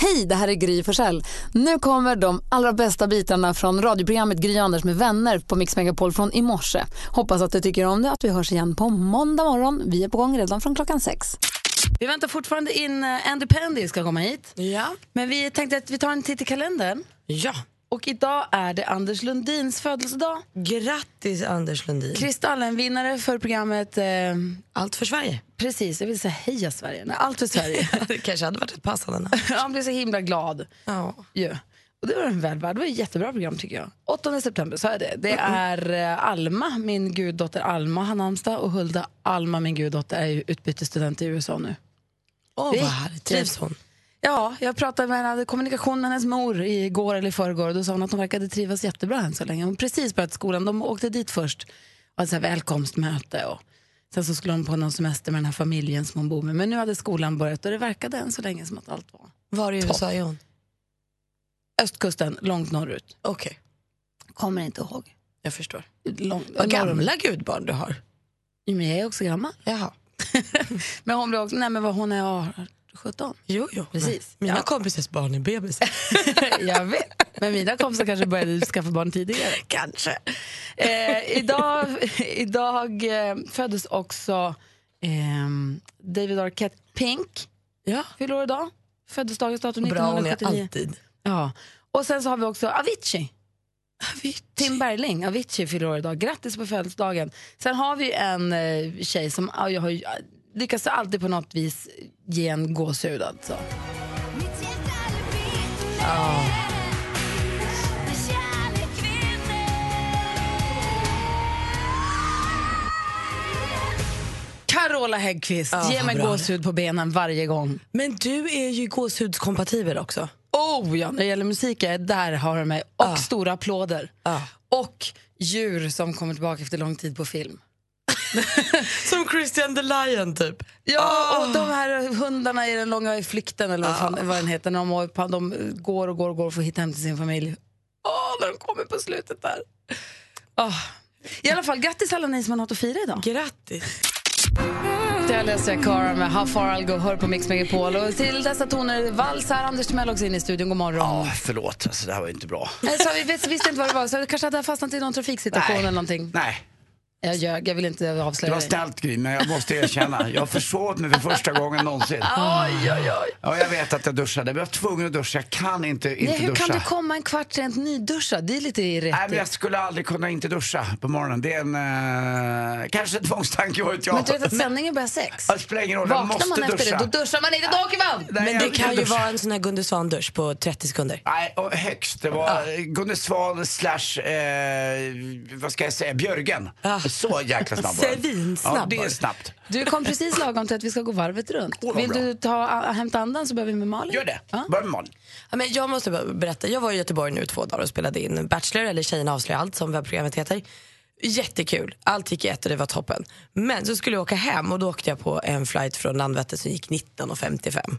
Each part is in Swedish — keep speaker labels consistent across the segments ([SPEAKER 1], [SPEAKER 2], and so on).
[SPEAKER 1] Hej, det här är Gry Forssell. Nu kommer de allra bästa bitarna från radioprogrammet Gry Anders med vänner på Mix Megapol från i morse. Hoppas att du tycker om det att vi hörs igen på måndag morgon. Vi är på gång redan från klockan sex.
[SPEAKER 2] Vi väntar fortfarande in eh, Andy Pandy ska komma hit. Ja. Men vi tänkte att vi tar en titt i kalendern.
[SPEAKER 3] Ja.
[SPEAKER 2] Och idag är det Anders Lundins födelsedag.
[SPEAKER 3] Grattis Anders Lundin.
[SPEAKER 2] Kristallenvinnare för programmet... Eh,
[SPEAKER 3] Allt för Sverige.
[SPEAKER 2] precis, jag vill säga heja Sverige. Nej, allt för Sverige.
[SPEAKER 3] det kanske hade varit ett passande namn.
[SPEAKER 2] Han blev så himla glad.
[SPEAKER 3] Ja.
[SPEAKER 2] ju. Och det var en väl värd. Det var ett jättebra program tycker jag. 8 september, sa jag det? Det är eh, Alma, min guddotter Alma, har namnsdag. Och Hulda Alma, min guddotter, är ju utbytesstudent i USA nu.
[SPEAKER 3] Åh,
[SPEAKER 2] Vi-
[SPEAKER 3] vad härligt. Trivs hon?
[SPEAKER 2] Ja, jag pratade med henne, hade kommunikation med hennes mor igår eller i förrgår och då sa hon att hon verkade trivas jättebra än så länge. Hon har precis börjat skolan, de åkte dit först och hade så här välkomstmöte och sen så skulle hon på någon semester med den här familjen som hon bor med. Men nu hade skolan börjat och det verkade än så länge som att allt var
[SPEAKER 3] Var i USA är hon?
[SPEAKER 2] östkusten, långt norrut.
[SPEAKER 3] Okej,
[SPEAKER 2] Kommer inte ihåg.
[SPEAKER 3] jag förstår.
[SPEAKER 2] Långt,
[SPEAKER 3] Vad
[SPEAKER 2] norr-
[SPEAKER 3] gamla gudbarn du har.
[SPEAKER 2] Men jag är också gammal.
[SPEAKER 3] Jaha.
[SPEAKER 2] Men hon blev också, nej men vad hon är 18, 17.
[SPEAKER 3] Jo, jo.
[SPEAKER 2] Precis.
[SPEAKER 3] Mina
[SPEAKER 2] Ja.
[SPEAKER 3] kompisars barn är bebis.
[SPEAKER 2] jag vet. Men mina kompisar kanske började skaffa barn tidigare.
[SPEAKER 3] kanske.
[SPEAKER 2] Eh, idag idag eh, föddes också ehm, David Arquette Pink.
[SPEAKER 3] Ja.
[SPEAKER 2] Fyller år idag. Föddes dagens datum
[SPEAKER 3] Bra hon
[SPEAKER 2] 1979.
[SPEAKER 3] är alltid.
[SPEAKER 2] Ja. Och sen så har vi också Avicii.
[SPEAKER 3] Avicii.
[SPEAKER 2] Tim Bergling, Avicii fyller år idag. Grattis på födelsedagen. Sen har vi ju en eh, tjej som ah, jag har ju, ah, lyckas alltid på något vis ge en gåshud. Alltså. Carola Häggkvist,
[SPEAKER 3] Ja,
[SPEAKER 2] ge
[SPEAKER 3] vad
[SPEAKER 2] mig
[SPEAKER 3] bra.
[SPEAKER 2] gåshud på benen varje gång.
[SPEAKER 3] Men du är ju gåshudskompatibel också.
[SPEAKER 2] Oh ja, när det gäller musik, är- där har de mig. Och
[SPEAKER 3] Ja.
[SPEAKER 2] stora applåder.
[SPEAKER 3] Ja.
[SPEAKER 2] Och djur som kommer tillbaka efter lång tid på film.
[SPEAKER 3] Som Christian the Lion typ.
[SPEAKER 2] Ja, och de här hundarna i den långa flykten eller vad, fan, vad den heter, när de, har- pan- de går och går och går för att hitta hem till sin familj. Åh, när de kommer på slutet där. Åh. I alla fall, grattis alla ni som har något att fira idag.
[SPEAKER 3] Grattis.
[SPEAKER 2] Det är Alessia Cara med How far I'll go, hör på Mix Megapol. Och till dessa toner vals här, Anders Timell också in i studion. God morgon.
[SPEAKER 4] Ja, förlåt. Alltså, det här var ju inte bra.
[SPEAKER 2] Nej, Eh, Så vi vis- visste inte vad det var, så jag kanske hade jag fastnat i någon trafiksituation eller någonting.
[SPEAKER 4] Nej,
[SPEAKER 2] Jag ljög, jag vill inte
[SPEAKER 4] det var
[SPEAKER 2] avslöja dig.
[SPEAKER 4] snällt Gry, men jag måste erkänna. Jag försov mig för första gången någonsin.
[SPEAKER 2] Oj, oj, oj.
[SPEAKER 4] Ja, jag vet att jag duschade, men jag var tvungen att duscha. Jag kan inte inte
[SPEAKER 2] Nej, hur
[SPEAKER 4] duscha.
[SPEAKER 2] kan du komma en kvart sent nyduschad? Det är lite
[SPEAKER 4] Nej, men
[SPEAKER 2] irriterande.
[SPEAKER 4] jag skulle aldrig kunna inte duscha på morgonen. Det är en... Eh, kanske en tvångstanke, vad vet jag.
[SPEAKER 2] Men du vet att sändningen börjar sex?
[SPEAKER 4] Det spelar ingen roll, jag
[SPEAKER 2] Vaknar
[SPEAKER 4] måste
[SPEAKER 2] man efter
[SPEAKER 4] duscha.
[SPEAKER 2] det, då duschar man inte, då åker man!
[SPEAKER 4] Nej,
[SPEAKER 3] Men
[SPEAKER 4] jag
[SPEAKER 3] det
[SPEAKER 4] vill
[SPEAKER 3] kan ju
[SPEAKER 4] duscha.
[SPEAKER 3] vara en sån här Gunde Svan-dusch på 30 sekunder.
[SPEAKER 4] Nej, och högst. Det
[SPEAKER 2] Ah.
[SPEAKER 4] var ja. Gunde Svan slash, eh, vad ska jag säga, Björgen.
[SPEAKER 2] Ah.
[SPEAKER 4] Så jäkla snabb var den.
[SPEAKER 3] Svinsnabb
[SPEAKER 4] Ja, det
[SPEAKER 3] var
[SPEAKER 4] är
[SPEAKER 3] den.
[SPEAKER 4] snabbt.
[SPEAKER 2] Du kom precis lagom till att vi ska gå varvet runt.
[SPEAKER 4] vad
[SPEAKER 2] Vill
[SPEAKER 4] bra.
[SPEAKER 2] du ta, hämta andan så börjar vi med Malin.
[SPEAKER 4] Gör det.
[SPEAKER 2] Ja.
[SPEAKER 4] Börja med Malin.
[SPEAKER 3] Ja, men jag måste bara berätta, jag var i Göteborg nu två dagar och spelade in Bachelor, eller Tjejerna avslöjar allt som webbprogrammet heter. Jättekul, allt gick i ett och det var toppen. Men så skulle jag åka hem och då åkte jag på en flight från Landvetter som gick 19.55.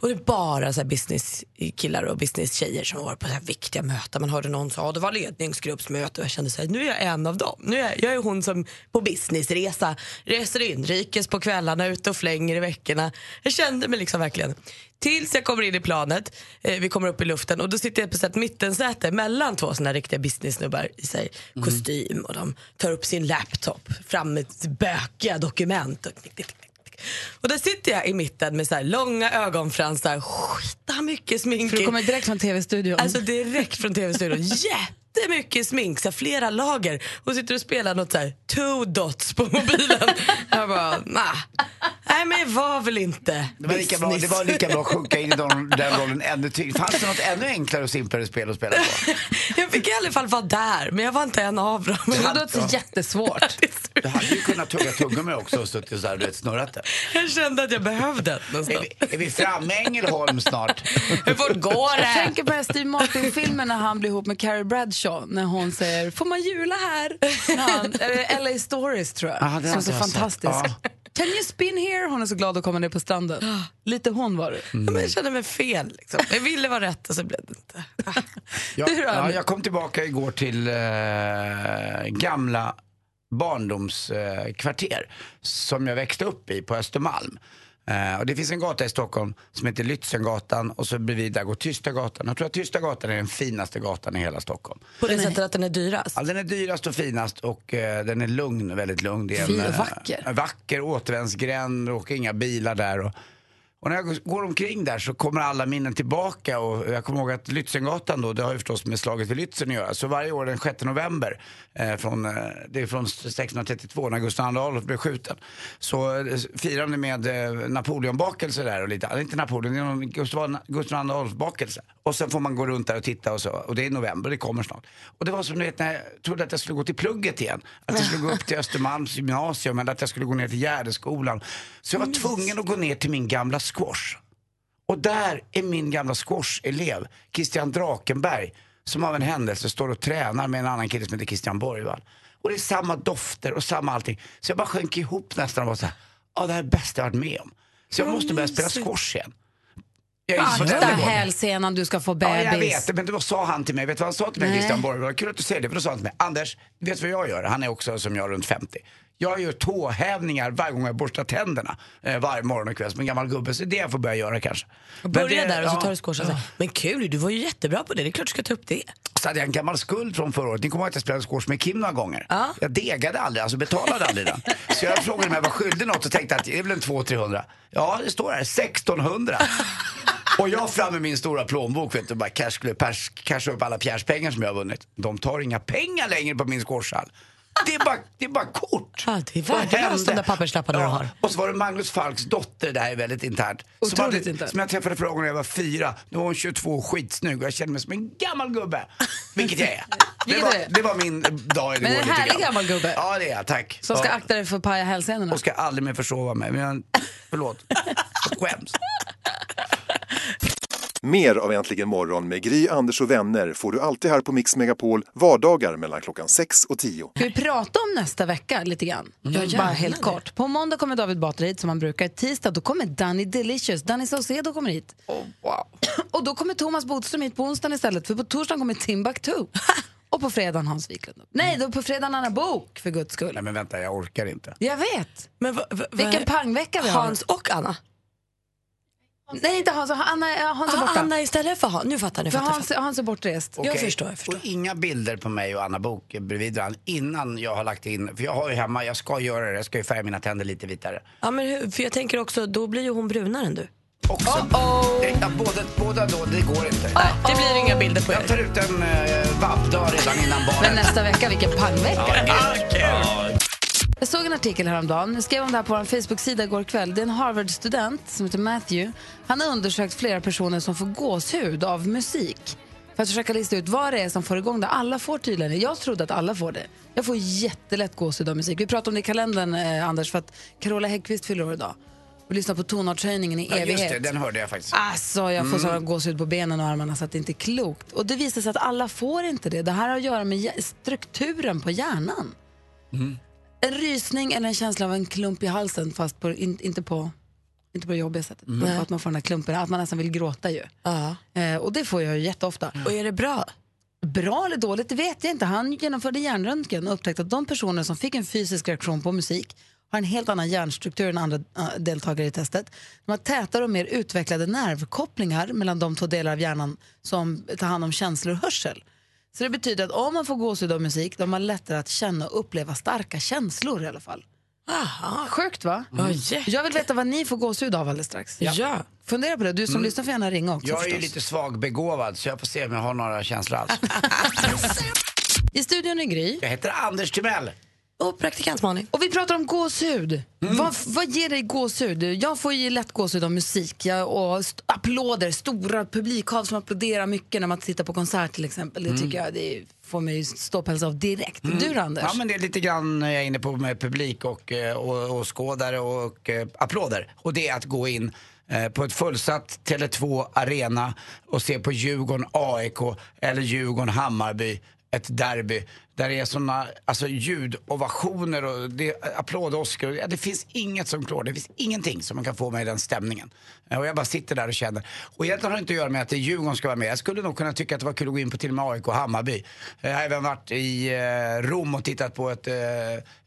[SPEAKER 3] Och det är bara så här businesskillar och businesstjejer som var på så här viktiga möten. Man hörde någon säga att det var ledningsgruppsmöte och jag kände så här, nu är jag en av dem. Nu är jag, jag är hon som på businessresa reser inrikes på kvällarna, ute och flänger i veckorna. Jag kände mig liksom verkligen. Tills jag kommer in i planet, eh, vi kommer upp i luften och då sitter jag på ett mittensäte mellan två såna riktiga businessnubbar i sig,
[SPEAKER 4] Mm.
[SPEAKER 3] kostym och de tar upp sin laptop fram med bökiga dokument. Och, och där sitter jag i mitten med så här långa ögonfransar, skita mycket smink.
[SPEAKER 2] För du
[SPEAKER 3] i-
[SPEAKER 2] kommer direkt från tv-studion.
[SPEAKER 3] Alltså direkt från tv-studion. Jättemycket smink, så här, flera lager. Och sitter och spelar något så här, two dots på mobilen. jag bara, nah. Nej men jag var väl inte
[SPEAKER 4] Det var, lika bra, det var lika bra att sjunka in i den, den rollen ännu tydligare. Fanns det något ännu enklare och simplare spel att spela på?
[SPEAKER 3] Jag fick i alla fall vara där, men jag var inte en av dem.
[SPEAKER 2] det låter jättesvårt.
[SPEAKER 4] Du hade ju kunnat tugga tuggummi också och suttit såhär, du vet, snurrat det.
[SPEAKER 3] Jag kände att jag behövde det
[SPEAKER 4] Är
[SPEAKER 3] någonstans.
[SPEAKER 4] vi, är vi framme i Ängelholm snart?
[SPEAKER 3] Hur fort går
[SPEAKER 2] Jag
[SPEAKER 3] det?
[SPEAKER 2] tänker på den här Steve Martin-filmen när han blir ihop med Carrie Bradshaw när hon säger “Får man jula här?” när han, eller LA Stories tror jag,
[SPEAKER 4] Ja, den har
[SPEAKER 2] som är så
[SPEAKER 4] inte jag sett.
[SPEAKER 2] fantastisk.
[SPEAKER 4] alltså- Ja.
[SPEAKER 2] Can you spin here? Hon är så glad att komma ner på stranden. Lite hon var det.
[SPEAKER 3] Ja, men jag kände mig fel. Liksom. Jag ville vara rätt och så blev det inte.
[SPEAKER 4] Ja,
[SPEAKER 2] Du då,
[SPEAKER 4] ja,
[SPEAKER 2] Anders?
[SPEAKER 4] jag kom tillbaka igår till eh, gamla barndomskvarter eh, kvarter som jag växte upp i på Östermalm. Eh, och det finns en gata i Stockholm som heter Lützengatan och så bredvid där går Tysta gatan. Jag tror att Tysta gatan är den finaste gatan i hela Stockholm.
[SPEAKER 3] På det sättet att den är dyrast.
[SPEAKER 4] Ja, den är dyrast och finast och eh, den är lugn, väldigt lugn. Det är
[SPEAKER 2] Fin och
[SPEAKER 4] eh,
[SPEAKER 2] vacker.
[SPEAKER 4] en vacker återvändsgränd och inga bilar där. Och, och när jag går omkring där så kommer alla minnen tillbaka och jag kommer ihåg att Lützengatan då, det har ju förstås med slaget vid Lützen att göra. Så varje år den 6 november, eh, från, eh, det är från 1632 när Gustav II Adolf blev skjuten, så eh, firar ni med eh, Napoleonbakelse där och lite, inte Napoleon, det är någon Gustav, Gustav II Adolf-bakelse. Och sen får man gå runt där och titta och så. Och det är november, det kommer snart. Och det var som du vet när jag trodde att jag skulle gå till plugget igen. Att jag skulle gå upp till Östermalms gymnasium eller att jag skulle gå ner till Gärdeskolan. Så jag var tvungen att gå ner till min gamla squash. Och där är min gamla squash-elev, Christian Drakenberg, som av en händelse står och tränar med en annan kille som heter Christian Borgvall. Och det är samma dofter och samma allting. Så jag bara sjönk ihop nästan och var så här, ja det här är det bästa jag varit med om. Så jag måste börja spela squash igen. Jag insåg
[SPEAKER 2] Akta
[SPEAKER 4] det igår.
[SPEAKER 2] hälsenan, du ska få bebis.
[SPEAKER 4] Ja, jag vet det, men då sa han till mig, vet du vad han sa till mig,
[SPEAKER 2] Nej.
[SPEAKER 4] Christian Borg? Vad Kul att du säger det, för då sa han till mig, Anders, vet du vad jag gör? Han är också som jag, runt 50. Jag gör tåhävningar varje gång jag borstar tänderna. Eh, varje morgon och kväll som en gammal gubbe. Så det är jag får börja göra kanske. Men
[SPEAKER 3] Börja
[SPEAKER 4] det-
[SPEAKER 3] där och så
[SPEAKER 4] ja.
[SPEAKER 3] tar du squashen. Ja. Men kul, du var ju jättebra på det. Det är klart du ska ta upp det.
[SPEAKER 4] Så hade jag en gammal skuld från förra året. Ni kommer ihåg att jag spelade squash med Kim några gånger. Jag degade aldrig, alltså betalade aldrig den. Så jag frågade om jag var skyldig något och tänkte att det är väl en 200-300. Ja, det står här 1600. Och jag fram med min stora plånbok vet du, och bara cash, skulle pers, casha upp alla pjärspengar som jag har vunnit. De tar inga pengar längre på min squashhall. Det är bara, det är bara kort.
[SPEAKER 3] Ja, det är
[SPEAKER 4] Vad
[SPEAKER 3] värdelöst,
[SPEAKER 4] hemskt.
[SPEAKER 3] de där papperslapparna du har.
[SPEAKER 4] Och så var det Magnus Falks dotter, det här är väldigt internt. Som,
[SPEAKER 2] Otroligt
[SPEAKER 4] hade-
[SPEAKER 2] internt.
[SPEAKER 4] som jag träffade förra gången när jag var fyra. Nu var hon 22 och skitsnygg och jag kände mig som en gammal gubbe. Vilket jag är. Det
[SPEAKER 2] Vilket
[SPEAKER 4] var,
[SPEAKER 2] du är.
[SPEAKER 4] det var min dag igår.
[SPEAKER 2] Men en
[SPEAKER 4] lite
[SPEAKER 2] härlig
[SPEAKER 4] grann.
[SPEAKER 2] gammal gubbe.
[SPEAKER 4] Ja det är jag, tack.
[SPEAKER 2] Som ska
[SPEAKER 4] Ja.
[SPEAKER 2] akta dig för att paja hälsenorna.
[SPEAKER 4] Och ska aldrig mer försova mig. Men jag, förlåt. Jag skäms.
[SPEAKER 5] Mer av Äntligen morgon med Gry, Anders och vänner får du alltid här på Mix Megapol vardagar mellan klockan 6 och 10.
[SPEAKER 2] Ska vi prata om nästa vecka lite grann? Bara helt kort. På måndag kommer David Batra hit som han brukar. Tisdag då kommer Danny Delicious, Danny Saucedo kommer hit. Och då kommer Thomas Bodström hit på onsdagen istället för på torsdagen kommer Timbuktu. Och på fredagen Hans Wiklund. Nej, då på fredagen Anna Bok för guds skull.
[SPEAKER 4] Nej men vänta, jag orkar inte.
[SPEAKER 2] Jag vet!
[SPEAKER 3] Men va, va, va,
[SPEAKER 2] Vilken pangvecka vi har.
[SPEAKER 3] Hans och Anna.
[SPEAKER 2] Nej, inte Hans. Anna, ja, Hans är
[SPEAKER 3] Ah,
[SPEAKER 2] borta.
[SPEAKER 3] Anna istället för Hans. Nu fattar ni.
[SPEAKER 2] För
[SPEAKER 3] Fattar,
[SPEAKER 2] Hans,
[SPEAKER 3] fattar.
[SPEAKER 2] Hans är bortrest.
[SPEAKER 3] Jag
[SPEAKER 4] Okej.
[SPEAKER 3] förstår, jag förstår.
[SPEAKER 4] Och inga bilder på mig och Anna Bok bredvid varandra innan jag har lagt in. För jag har ju hemma, jag ska göra det, jag ska ju färga mina tänder lite vitare.
[SPEAKER 3] Ja, men hur, för jag tänker också, då blir ju hon brunare än du.
[SPEAKER 4] Också. Nej, ja, båda, båda då, det går inte.
[SPEAKER 2] Ah.
[SPEAKER 3] Det blir inga bilder på
[SPEAKER 4] Jag tar ut en eh, vabbdag redan innan barnet.
[SPEAKER 2] Men nästa vecka, vilken pangvecka! Ah,
[SPEAKER 4] Ja,
[SPEAKER 2] Jag såg en artikel häromdagen. Jag skrev om det här på vår Facebook-sida igår kväll. Det är en Harvard-student som heter Matthew. Han har undersökt flera personer som får gåshud av musik för att försöka lista ut vad det är som får igång det. Alla får tydligen det. Jag trodde att alla får det. Jag får jättelätt gåshud av musik. Vi pratade om det i kalendern, eh, Anders, för att Carola Häggkvist fyller år idag. Vi lyssnar på tonartshöjningen i
[SPEAKER 4] ja,
[SPEAKER 2] evighet.
[SPEAKER 4] just det, den hörde jag faktiskt.
[SPEAKER 2] Alltså, jag får sådana gåshud på benen och armarna så att det inte är klokt. Och det visar sig att alla får inte det. Det här har att göra med hjär- strukturen på hjärnan. En rysning eller en känsla av en klump i halsen fast på, in, inte på inte på det jobbiga sättet. Och Att man får den här klumpen, att man nästan vill gråta ju.
[SPEAKER 3] Ja.
[SPEAKER 2] Eh, och det får jag ju jätteofta.
[SPEAKER 4] Mm.
[SPEAKER 3] Och är det bra?
[SPEAKER 2] Bra eller dåligt, det vet jag inte. Han genomförde hjärnröntgen och upptäckte att de personer som fick en fysisk reaktion på musik har en helt annan hjärnstruktur än andra äh, deltagare i testet. De har tätare och mer utvecklade nervkopplingar mellan de två delar av hjärnan som tar hand om känslor och hörsel. Så det betyder att om man får gåshud av musik, de har lättare att känna och uppleva starka känslor i alla fall.
[SPEAKER 3] Aha.
[SPEAKER 2] Sjukt va?
[SPEAKER 3] Ja, jätte-
[SPEAKER 2] Jag vill veta vad ni får gåshud av alldeles strax.
[SPEAKER 3] Ja. Mm.
[SPEAKER 2] Fundera på det, du som lyssnar får gärna ringa också
[SPEAKER 4] Jag är ju
[SPEAKER 2] förstås.
[SPEAKER 4] lite svagbegåvad så jag får se om jag har några känslor alls.
[SPEAKER 2] I studion är Gry.
[SPEAKER 4] Jag heter Anders Timell.
[SPEAKER 3] Och praktikant Malin.
[SPEAKER 2] Och vi pratar om gåshud. Vad, vad ger dig gåshud? Jag får ju lätt gåshud av musik jag, och st- applåder, stora publikhav som applåderar mycket när man tittar på konsert till exempel. Det tycker jag det får mig ståpäls av direkt. Du då, Anders?
[SPEAKER 4] Mm. Ja men det är lite grann eh, jag är inne på med publik och eh, och- och skådare och eh, applåder. Och det är att gå in eh, på ett fullsatt Tele2 E Arena och se på Djurgården AIK eller Djurgården Hammarby, ett derby. Där det är såna alltså, ljudovationer och det, applådåskor. Ja, det finns inget som klår. Det finns ingenting som kan få mig i den stämningen. Eh, Och jag bara sitter där och känner. Och egentligen har det inte att göra med att det är Djurgården ska vara med. Jag skulle nog kunna tycka att det var kul att gå in på till och med AIK och Hammarby. Eh, Jag har även varit i eh, Rom och tittat på ett, eh,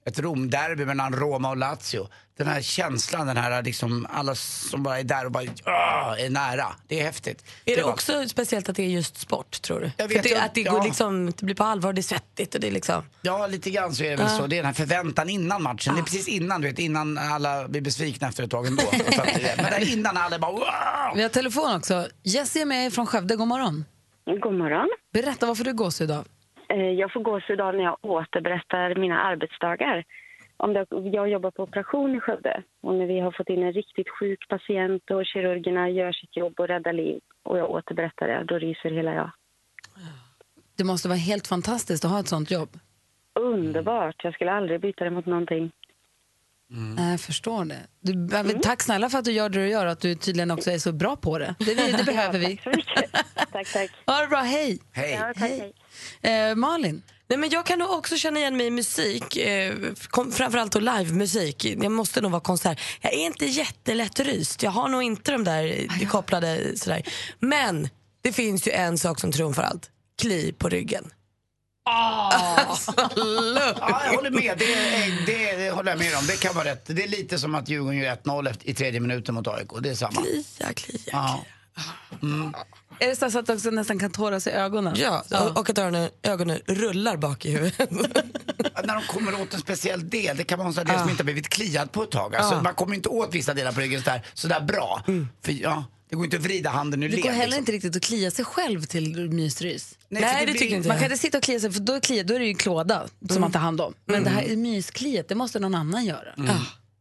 [SPEAKER 4] ett Romderby mellan Roma och Lazio. Den här känslan, den här liksom, alla som bara är där och bara "Ah", är nära. Det är häftigt.
[SPEAKER 3] Är det
[SPEAKER 4] var-
[SPEAKER 3] också speciellt att det är just sport tror du? För
[SPEAKER 4] Jag vet
[SPEAKER 3] att det,
[SPEAKER 4] inte,
[SPEAKER 3] att det,
[SPEAKER 4] ja.
[SPEAKER 3] går liksom, det blir på allvar, det är svettigt och det är liksom...
[SPEAKER 4] Ja, lite grann så är det väl så. Det är den här förväntan innan matchen. Det är precis innan, du vet, innan alla blir besvikna efter ett tag ändå. Så att det är det. Men där innan alla bara wow!
[SPEAKER 2] Vi har telefon också. Jessie är med från Skövde. God morgon.
[SPEAKER 6] God morgon.
[SPEAKER 2] Berätta varför du gås idag.
[SPEAKER 6] Eh, Jag får gåshud av när jag återberättar mina arbetsdagar. Om det, jag jobbar på operation i Skövde och när vi har fått in en riktigt sjuk patient och kirurgerna gör sitt jobb och räddar liv och jag återberättar det, då ryser hela jag.
[SPEAKER 2] Det måste vara helt fantastiskt att ha ett sånt jobb.
[SPEAKER 6] Underbart! Jag skulle aldrig byta det mot någonting.
[SPEAKER 2] Nej, Jag förstår det. Du, Tack snälla för att du gör det du gör och att du tydligen också är så bra på det. Det, vi- det behöver vi.
[SPEAKER 6] Så mycket. tack, tack.
[SPEAKER 2] Ha det bra, hej!
[SPEAKER 4] Hej!
[SPEAKER 6] Ja, tack, hej.
[SPEAKER 2] Eh, Malin,
[SPEAKER 3] Nej, men jag kan nog också känna igen mig i musik, eh, kom, framförallt då livemusik. Jag måste nog vara konsert. Jag är inte jättelätt ryst. Jag har nog inte de där eh, kopplade sådär. Men det finns ju en sak som trumfar allt. Kli på ryggen. Alltså,
[SPEAKER 4] Ja, jag håller med. Det, är, det, är, det håller jag med om. Det kan vara rätt. Det är lite som att Djurgården gör 1-0 efter- i tredje minuten mot AIK. Det är samma.
[SPEAKER 3] Klia, klia,
[SPEAKER 4] Ja.
[SPEAKER 3] klia.
[SPEAKER 2] är det så att du också nästan kan tåras i ögonen?
[SPEAKER 3] Ja, och, och att öronen, ögonen rullar bak i huvudet.
[SPEAKER 4] När de kommer åt en speciell del, det kan vara en sån här del
[SPEAKER 3] Ah.
[SPEAKER 4] som inte har blivit kliad på ett tag. Alltså, Man kommer inte åt vissa delar på ryggen sådär, sådär bra.
[SPEAKER 3] Mm.
[SPEAKER 4] För, ja, det går inte att vrida handen ur
[SPEAKER 2] Det
[SPEAKER 4] led.
[SPEAKER 2] går heller
[SPEAKER 4] liksom.
[SPEAKER 2] inte riktigt att klia sig själv till mysrys.
[SPEAKER 4] Nej,
[SPEAKER 3] Nej,
[SPEAKER 4] för
[SPEAKER 3] det
[SPEAKER 4] blir-
[SPEAKER 3] tycker inte
[SPEAKER 2] Man
[SPEAKER 3] jag.
[SPEAKER 2] kan inte sitta och klia sig, för då, klia, då är det ju klåda som
[SPEAKER 4] Mm.
[SPEAKER 2] man tar hand om. Men det här myskliet, det måste någon annan göra.
[SPEAKER 4] Mm.
[SPEAKER 2] Ah,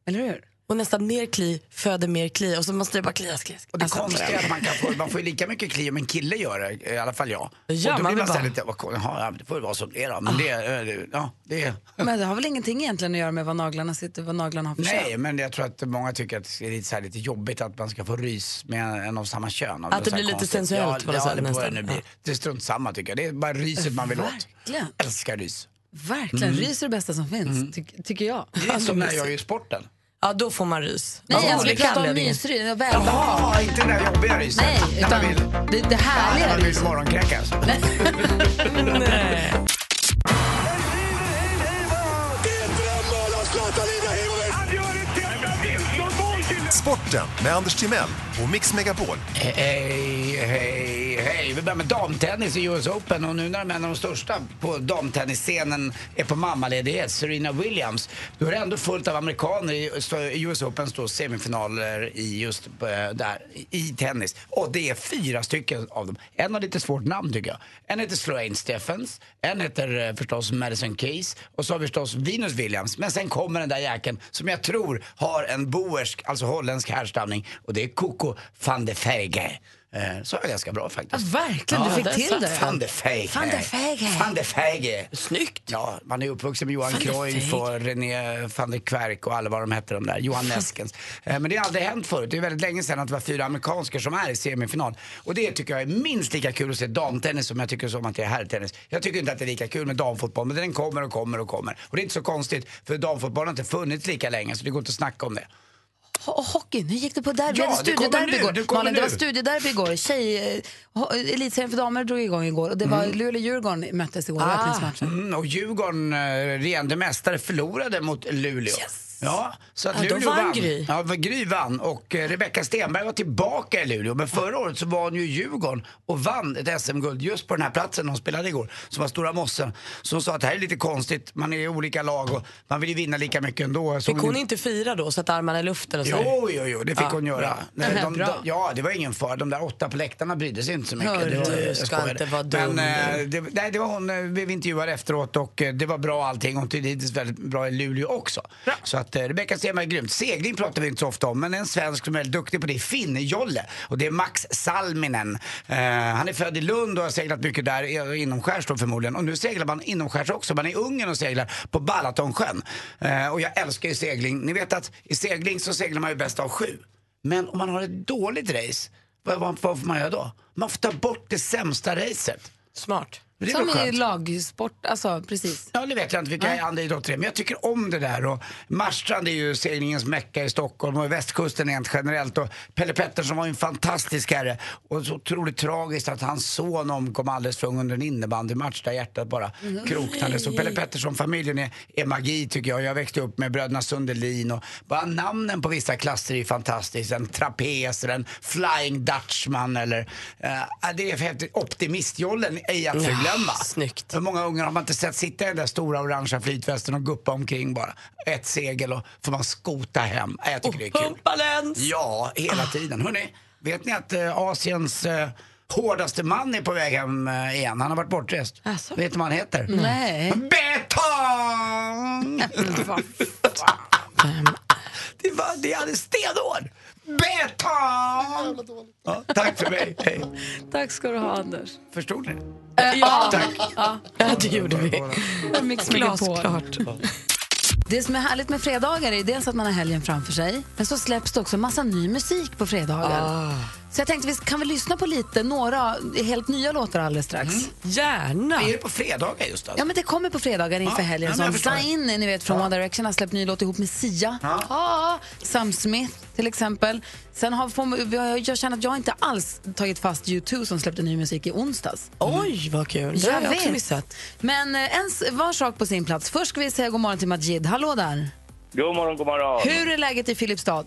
[SPEAKER 2] Eller hur?
[SPEAKER 3] Och nästan mer kli föder mer kli och så måste det bara klias, klias.
[SPEAKER 4] Och det konstiga är att man, kan få, man får ju lika mycket kli om en kille gör det, i alla fall jag.
[SPEAKER 3] Ja,
[SPEAKER 4] och då
[SPEAKER 3] man
[SPEAKER 4] blir
[SPEAKER 3] vill
[SPEAKER 4] man såhär
[SPEAKER 3] bara- Ah.
[SPEAKER 4] lite, "Vad kon- jaha, ja, men det får ju vara som det är då. Men det, eh, det, ja, det,
[SPEAKER 2] Men det har väl ingenting egentligen att göra med vad naglarna sitter, vad naglarna har för kön?
[SPEAKER 4] nej, men jag tror att många tycker att det är lite, så här, lite jobbigt att man ska få rys med en av samma kön. Och
[SPEAKER 3] Att det
[SPEAKER 4] så här
[SPEAKER 3] blir lite
[SPEAKER 4] konstigt.
[SPEAKER 3] sensuellt
[SPEAKER 4] ja,
[SPEAKER 3] på något
[SPEAKER 4] ja,
[SPEAKER 3] sätt
[SPEAKER 4] det, får jag
[SPEAKER 3] nästan.
[SPEAKER 4] nu bli.
[SPEAKER 3] Ja.
[SPEAKER 4] det är strunt samma tycker jag. Det är bara ryset man vill åt.
[SPEAKER 2] Verkligen.
[SPEAKER 4] Älskar rys.
[SPEAKER 2] Verkligen, rys är det bästa som finns, ty- tycker jag.
[SPEAKER 4] Mm. Det är som när jag gör sporten.
[SPEAKER 3] Ja, då får man rys. Av
[SPEAKER 2] Nej, jag skulle
[SPEAKER 3] olika
[SPEAKER 2] prata alltså, om
[SPEAKER 3] anledningar.
[SPEAKER 2] mysrys och
[SPEAKER 4] Jaha,
[SPEAKER 2] välbehag.
[SPEAKER 4] inte det där jobbiga ryset.
[SPEAKER 2] Nej,
[SPEAKER 4] När man
[SPEAKER 2] utan
[SPEAKER 4] vill,
[SPEAKER 2] det, det härliga
[SPEAKER 4] när man vill
[SPEAKER 2] ryset.
[SPEAKER 4] morgonkräkas.
[SPEAKER 5] Sporten med Anders Timell och Mix Megapol.
[SPEAKER 4] Hej, hej, hej. Vi börjar med damtennis i US Open och nu när de är en av de största på damtennisscenen är på mammaledighet, Serena Williams, då är det ändå fullt av amerikaner i i US Opens då semifinaler i just eh, där, i tennis. Och det är fyra stycken av dem. En har lite svårt namn tycker jag. En heter Sloane Stephens, en heter eh, förstås Madison Keys och så har vi förstås Venus Williams. Men sen kommer den där jäkeln som jag tror har en boersk, alltså holländsk härstamning och det är Coco van de Verge. Eh, Så är det ganska bra faktiskt.
[SPEAKER 2] Ja, verkligen. Du fick
[SPEAKER 4] där
[SPEAKER 2] till
[SPEAKER 4] satt
[SPEAKER 2] det.
[SPEAKER 4] Van de Verge.
[SPEAKER 2] Van de Verge.
[SPEAKER 4] Van de Verge.
[SPEAKER 3] Snyggt.
[SPEAKER 4] Ja, man är uppvuxen med Johan
[SPEAKER 3] Van de Verge.
[SPEAKER 4] Cruyff och René van der Kverk och alla vad de hette de där. Johan Neskens. Eh, Men det har aldrig hänt förut. Det är väldigt länge sedan att det var fyra amerikanskor som är i semifinal. Och det tycker jag är minst lika kul att se damtennis som jag tycker som att det är herrtennis. Jag tycker inte att det är lika kul med damfotboll, men den kommer och kommer och kommer. Och det är inte så konstigt, för damfotboll har inte funnits lika länge, så det går inte att snacka om det.
[SPEAKER 2] Ho- Och hockeyn, hur gick det på derby?
[SPEAKER 4] Ja,
[SPEAKER 2] det var
[SPEAKER 4] det kommer
[SPEAKER 2] studiederby
[SPEAKER 4] nu,
[SPEAKER 2] igår.
[SPEAKER 4] det kommer
[SPEAKER 2] Malin, det var
[SPEAKER 4] nu.
[SPEAKER 2] studiederby igår. Tjej, eh, ho- elitserien för damer drog igång igår och det var Luleå-Djurgården möttes igår i öppningsmatchen.
[SPEAKER 4] Mm, och Djurgården, eh, regerande mästare, förlorade mot Luleå. Ja, så att
[SPEAKER 3] Ja, då
[SPEAKER 4] Luleå
[SPEAKER 3] vann Gry.
[SPEAKER 4] Ja, vad Gry vann och eh, Rebecka Stenberg var tillbaka i Luleå. Men förra året så var hon ju i Djurgården och vann ett SM-guld just på den här platsen hon spelade igår, som var Stora Mossen. Så hon sa att det här är lite konstigt, man är i olika lag och man vill ju vinna lika mycket ändå. Så
[SPEAKER 3] Fick hon inte fira då, sätta armarna i luften och så? här?
[SPEAKER 4] Jo, jo, jo, det fick hon göra. Nej,
[SPEAKER 2] Nähä,
[SPEAKER 4] de,
[SPEAKER 2] bra.
[SPEAKER 4] de, ja, det var ingen fara. De där åtta på läktarna brydde sig inte så mycket.
[SPEAKER 3] Hörru,
[SPEAKER 4] det var,
[SPEAKER 3] du
[SPEAKER 4] jag
[SPEAKER 3] ska
[SPEAKER 4] skojade.
[SPEAKER 3] inte vara dum,
[SPEAKER 4] Men, eh, det, nej, det var hon eh, blev intervjuad efteråt och eh, det var bra allting. Hon tyckte hittills väldigt bra i Luleå också. Så att eh, Rebecka Stenberg är grymt. Segling pratar vi inte så ofta om, men en svensk som är väldigt duktig på det är Finne-Jolle. Och det är Max Salminen. Eh, han är född i Lund och har seglat mycket där, eh, inomskärs då förmodligen. Och nu seglar man inomskärs också. Man är i Ungern och seglar på Balatonsjön. Eh, och jag älskar ju segling. Ni vet att i segling så seglar man ju bäst av sju. Men om man har ett dåligt race, vad, vad, vad får man göra då? Man får ta bort det sämsta racet.
[SPEAKER 3] Smart.
[SPEAKER 4] Det är
[SPEAKER 2] Som
[SPEAKER 4] väl
[SPEAKER 2] i
[SPEAKER 4] skönt.
[SPEAKER 2] lagsport, alltså precis.
[SPEAKER 4] Ja, det vet jag inte vilka andra idrotter det är, men jag tycker om det där. Och Marstrand är ju seglingens mecka i Stockholm och västkusten rent generellt. Och Pelle Pettersson var ju en fantastisk herre. Och så otroligt tragiskt att hans son omkom alldeles för ung under en innebandymatch där hjärtat bara
[SPEAKER 2] Mm.
[SPEAKER 4] kroknade. Så Pelle Pettersson-familjen är, är magi tycker jag. Jag växte upp med bröderna Sundelin och bara namnen på vissa klasser är ju fantastiskt. En trapez eller en flying dutchman eller... eh, det är för häftigt. Optimistjollen är ej att förglömma.
[SPEAKER 3] snyggt.
[SPEAKER 4] Hur många ungar har man inte sett sitta i den där stora orangea flytvästen och guppa omkring bara? Ett segel och får man skota hem. Äh, jag tycker
[SPEAKER 2] Oh,
[SPEAKER 4] det är kul.
[SPEAKER 3] Pumpalens!
[SPEAKER 4] Ja, hela tiden. Hörrni, vet ni att eh, Asiens eh, hårdaste man är på väg hem eh, igen? Han har varit bortrest.
[SPEAKER 3] Asså?
[SPEAKER 4] Vet du vad han heter?
[SPEAKER 2] Alltså.
[SPEAKER 3] Mm.
[SPEAKER 2] Nej.
[SPEAKER 4] Betong!
[SPEAKER 2] Vad
[SPEAKER 4] det, var, det är alldeles stenhård! Betong! Ja, tack för mig. Hej.
[SPEAKER 2] Tack ska du ha Anders.
[SPEAKER 4] Förstod ni?
[SPEAKER 3] Ja,
[SPEAKER 4] Tack.
[SPEAKER 3] ja, det gjorde vi.
[SPEAKER 2] Mix Megapol.
[SPEAKER 3] Glasklart.
[SPEAKER 2] Det som är härligt med fredagar är dels att man har helgen framför sig, men så släpps det också massa ny musik på fredagar.
[SPEAKER 3] Ah.
[SPEAKER 2] Så jag tänkte vi kan vi lyssna på lite, några helt nya låtar alldeles strax.
[SPEAKER 3] Mm. Gärna.
[SPEAKER 4] Är det på fredagar just alltså?
[SPEAKER 2] Ja men det kommer på fredagar inför
[SPEAKER 4] Ja,
[SPEAKER 2] helgen.
[SPEAKER 4] ja, men jag
[SPEAKER 2] som
[SPEAKER 4] förstår.
[SPEAKER 2] Zayn, ni vet från One Direction, har släppt ny låt ihop med Sia. Ja. Sam Smith till exempel. Sen har får- jag, jag känner att jag inte alls tagit fast U2 som släppte ny musik i onsdags.
[SPEAKER 3] Oj, vad kul. Det har jag också missat.
[SPEAKER 2] Men eh, en, s- var sak på sin plats. Först ska vi säga god morgon till Majid. Hallå där.
[SPEAKER 7] God morgon, god morgon.
[SPEAKER 2] Hur är läget i Filipstad?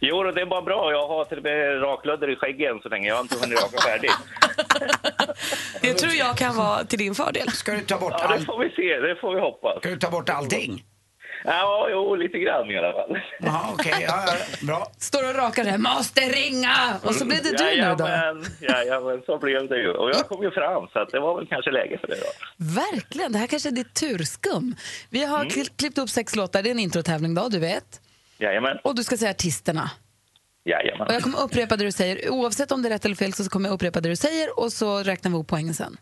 [SPEAKER 7] Jo, då, det är bara bra. Jag har till och med raklödder i skägget än så länge. Jag har inte hunnit raka färdigt.
[SPEAKER 3] Det tror jag kan vara till din fördel.
[SPEAKER 4] Ska du ta bort
[SPEAKER 7] Ja, det
[SPEAKER 4] allt?
[SPEAKER 7] får vi se. Det får vi hoppas.
[SPEAKER 4] Ska du ta bort allting?
[SPEAKER 7] Ja, jo, lite grann i alla fall.
[SPEAKER 4] Jaha, okej. Ja, ja, bra.
[SPEAKER 2] Står och rakar här. Måste ringa! Och så blev det du nu då.
[SPEAKER 7] Jajamän, jajamän, så blev det ju. Och jag kom ju fram, så att det var väl kanske läge för det då.
[SPEAKER 2] Verkligen, det här kanske är ditt turskum. Vi har kli- klippt upp sex låtar, det är en introtävling då, du vet.
[SPEAKER 7] Jajamän,
[SPEAKER 2] Och du ska säga artisterna.
[SPEAKER 7] jajamän.
[SPEAKER 2] Och jag kommer upprepa det du säger. Oavsett om det är rätt eller fel så kommer jag upprepa det du säger och så räknar vi upp poängen sen.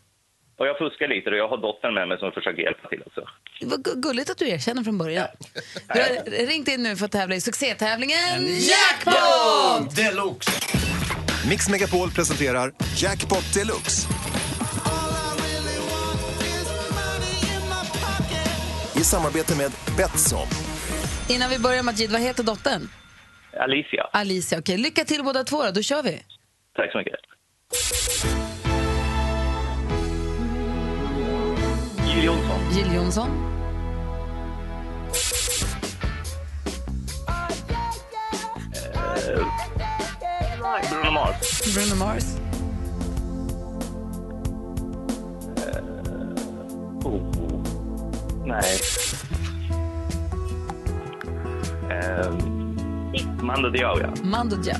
[SPEAKER 7] Och jag fuskar lite och jag har dottern med mig som försöker hjälpa till också.
[SPEAKER 2] Det var gu- gulligt att du erkänner från början. Du har ringt in nu för att tävla i succétävlingen Jackpot!
[SPEAKER 4] Deluxe!
[SPEAKER 5] Mix Megapol presenterar Jackpot Deluxe. I samarbete med Betsson.
[SPEAKER 2] Innan vi börjar Majid, vad heter dottern?
[SPEAKER 7] Alicia,
[SPEAKER 2] Alicia, okej. Lycka till båda två då, då kör vi.
[SPEAKER 7] tack så mycket. Jill Johnson,
[SPEAKER 2] Jill Johnson,
[SPEAKER 7] Bruno Mars,
[SPEAKER 2] Bruno Mars,
[SPEAKER 7] Oh. Nej. Ehm, Mando Diao, ja.
[SPEAKER 2] Mando Diao.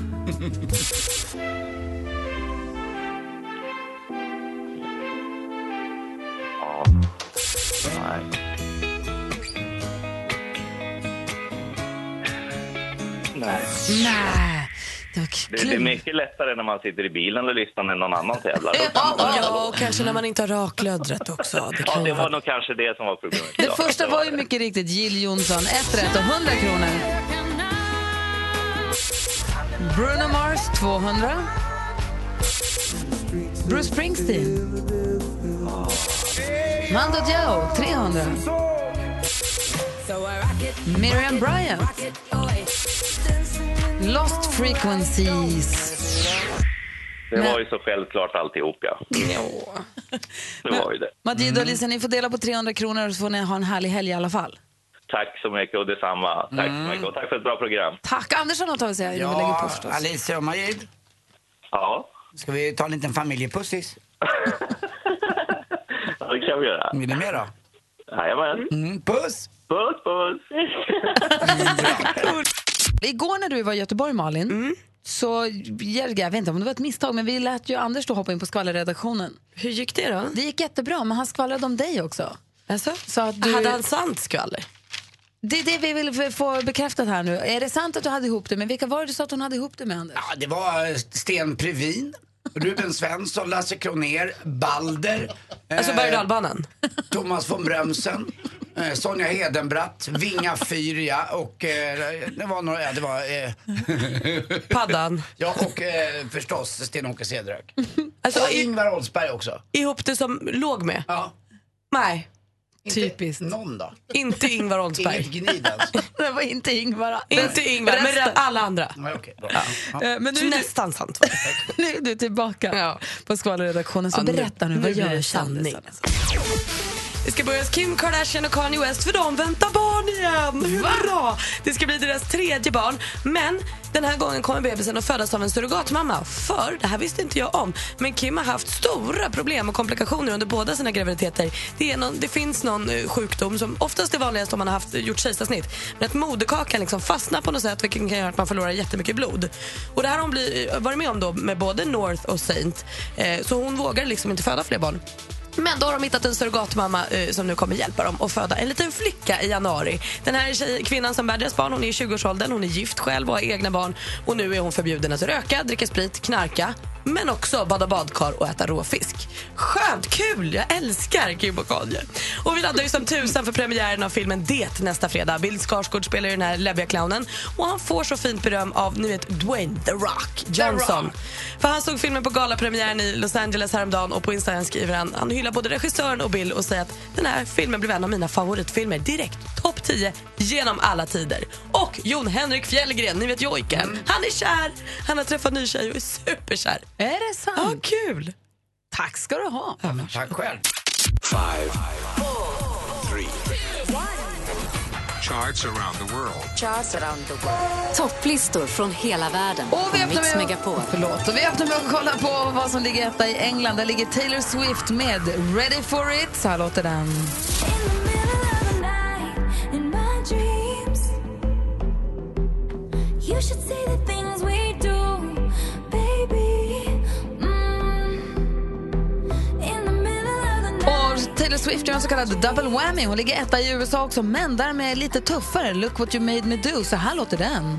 [SPEAKER 7] Ja. Nej. Nej.
[SPEAKER 2] Nej, det
[SPEAKER 7] Det,
[SPEAKER 2] var
[SPEAKER 7] det är
[SPEAKER 2] klurigt.
[SPEAKER 7] mycket lättare när man sitter i bilen och lyssnar än någon annan tävlar.
[SPEAKER 3] Ja, och kanske när man inte har raklödret också. Det
[SPEAKER 7] Ja,
[SPEAKER 3] kan
[SPEAKER 7] det
[SPEAKER 3] ju
[SPEAKER 7] var
[SPEAKER 3] vara...
[SPEAKER 7] nog kanske det som var problemet.
[SPEAKER 2] Det
[SPEAKER 7] Ja,
[SPEAKER 2] första
[SPEAKER 7] det
[SPEAKER 2] var ju
[SPEAKER 7] det.
[SPEAKER 2] mycket riktigt Jill Johnson, ett rätt och 100 kronor. Bruno Mars 200. Bruce Springsteen. Mando Diao 300. Miriam Bryant. Lost Frequencies.
[SPEAKER 7] Det var ju så självklart alltihop, ja. Det var ju det.
[SPEAKER 2] Madid och Alicia, ni får dela på 300 kronor och så får ni ha en härlig helg i alla fall.
[SPEAKER 7] Tack så mycket och detsamma. Tack så mycket och tack för ett bra program.
[SPEAKER 2] Tack! Anders har något att säga innan vi lägger på
[SPEAKER 4] Ja,
[SPEAKER 2] förstås.
[SPEAKER 4] Alicia och Majid.
[SPEAKER 7] Ja,
[SPEAKER 4] Ska vi ta en liten familjepussis?
[SPEAKER 7] ja det kan vi göra.
[SPEAKER 4] Vill ni med då?
[SPEAKER 7] Jajamän.
[SPEAKER 4] Mm, puss!
[SPEAKER 7] Puss, puss!
[SPEAKER 2] Igår när du var i Göteborg, Malin,
[SPEAKER 3] Mm.
[SPEAKER 2] så, jag, jag vet inte om det var ett misstag, men vi lät ju Anders då hoppa in på skvallerredaktionen.
[SPEAKER 3] Hur gick det då?
[SPEAKER 2] Det gick jättebra, men han skvallrade om dig också.
[SPEAKER 3] Alltså,
[SPEAKER 2] Så att du-
[SPEAKER 3] Hade han sant skvaller?
[SPEAKER 2] Det är det vi vill få bekräftat här nu. Är det sant att du hade ihop det? Men vilka var det du sa att hon hade ihop det med, Anders?
[SPEAKER 4] Ja, det var eh, Sten Previn, Ruben Svensson, Lasse Kroner, Balder, eh,
[SPEAKER 3] Alltså berg och dalbanan?
[SPEAKER 4] Thomas von Brömsen, eh, Sonja Hedenbratt, Vinga Fyria och eh, det var några, ja, det var, eh,
[SPEAKER 3] Paddan?
[SPEAKER 4] ja och eh, förstås Sten-Åke Cederhök.
[SPEAKER 3] Alltså,
[SPEAKER 4] och
[SPEAKER 3] i-
[SPEAKER 4] Ingvar Oldsberg också.
[SPEAKER 3] ihop det som låg med?
[SPEAKER 4] Ja.
[SPEAKER 3] Nej,
[SPEAKER 2] Typiskt.
[SPEAKER 4] Någon då?
[SPEAKER 3] inte Ingvar
[SPEAKER 4] Inget
[SPEAKER 3] Oldsberg.
[SPEAKER 4] gnid alltså. ens?
[SPEAKER 2] Det var inte Ingvar.
[SPEAKER 3] inte Ingvar, men
[SPEAKER 2] Resten.
[SPEAKER 3] re- alla andra.
[SPEAKER 4] Nej, okej, bra.
[SPEAKER 2] Eh, Men
[SPEAKER 3] Så
[SPEAKER 2] nu är, du,
[SPEAKER 3] nästan sant. var det.
[SPEAKER 2] nu är du tillbaka
[SPEAKER 3] Ja.
[SPEAKER 2] på skvallerredaktionen. Så
[SPEAKER 3] Ja, nu-
[SPEAKER 2] berätta nu,
[SPEAKER 3] nu
[SPEAKER 2] vad
[SPEAKER 3] blir
[SPEAKER 2] gör
[SPEAKER 3] det
[SPEAKER 2] kändisarna?
[SPEAKER 3] sanning. Det ska börjas Kim Kardashian och Kanye West för de väntar barn igen. Hurra! Det ska bli deras tredje barn. Men den här gången kommer bebisen att födas av en surrogatmamma. För, det här visste inte jag om, men Kim har haft stora problem och komplikationer under båda sina graviditeter. Det, är någon, det finns någon eh, sjukdom som oftast är vanligast om man har haft, eh, gjort kejsarsnitt. Men att moderkakan liksom fastnar på något sätt vilket kan göra att man förlorar jättemycket blod. Och det här har hon bli, eh, varit med om då med både North och Saint. Eh, så hon vågar liksom inte föda fler barn. Men då har de hittat en surrogatmamma eh, som nu kommer hjälpa dem att föda en liten flicka i januari. Den här tjej, kvinnan som bär deras barn hon är i 20-årsåldern, hon är gift själv och har egna barn. Och nu är hon förbjuden att röka, dricka sprit, knarka men också bada badkar och äta råfisk. Skönt, kul! Jag älskar Kim och Kanye. Och vi laddar ju som tusan för premiären av filmen Det nästa fredag. Bill Skarsgård spelar ju den här läbbiga clownen och han får så fint beröm av, ni vet, Dwayne The Rock Johnson. För han såg filmen på galapremiären i Los Angeles häromdagen och på Instagram skriver han, han hyllar både regissören och Bill och säger att den här filmen blev en av mina favoritfilmer direkt topp 10 genom alla tider. Och Jon Henrik Fjällgren, ni vet jojken, han är kär, han har träffat en ny tjej och är superkär.
[SPEAKER 8] Eh,
[SPEAKER 2] Är det sant?
[SPEAKER 3] Ja, kul!
[SPEAKER 2] Tack ska du ha.
[SPEAKER 4] Tack själv.
[SPEAKER 9] Topplistor från hela världen.
[SPEAKER 2] Och vi
[SPEAKER 9] På Mix
[SPEAKER 2] öppnar med,
[SPEAKER 9] Megapol.
[SPEAKER 2] förlåt, och vi öppnar med att kolla på vad som ligger etta i England. Där ligger Taylor Swift med Ready for it. Så här låter den. Och Taylor Swift gör en så kallad double whammy. Hon ligger etta i USA också, men därmed lite tuffare. Look what you made me do. Så här låter den.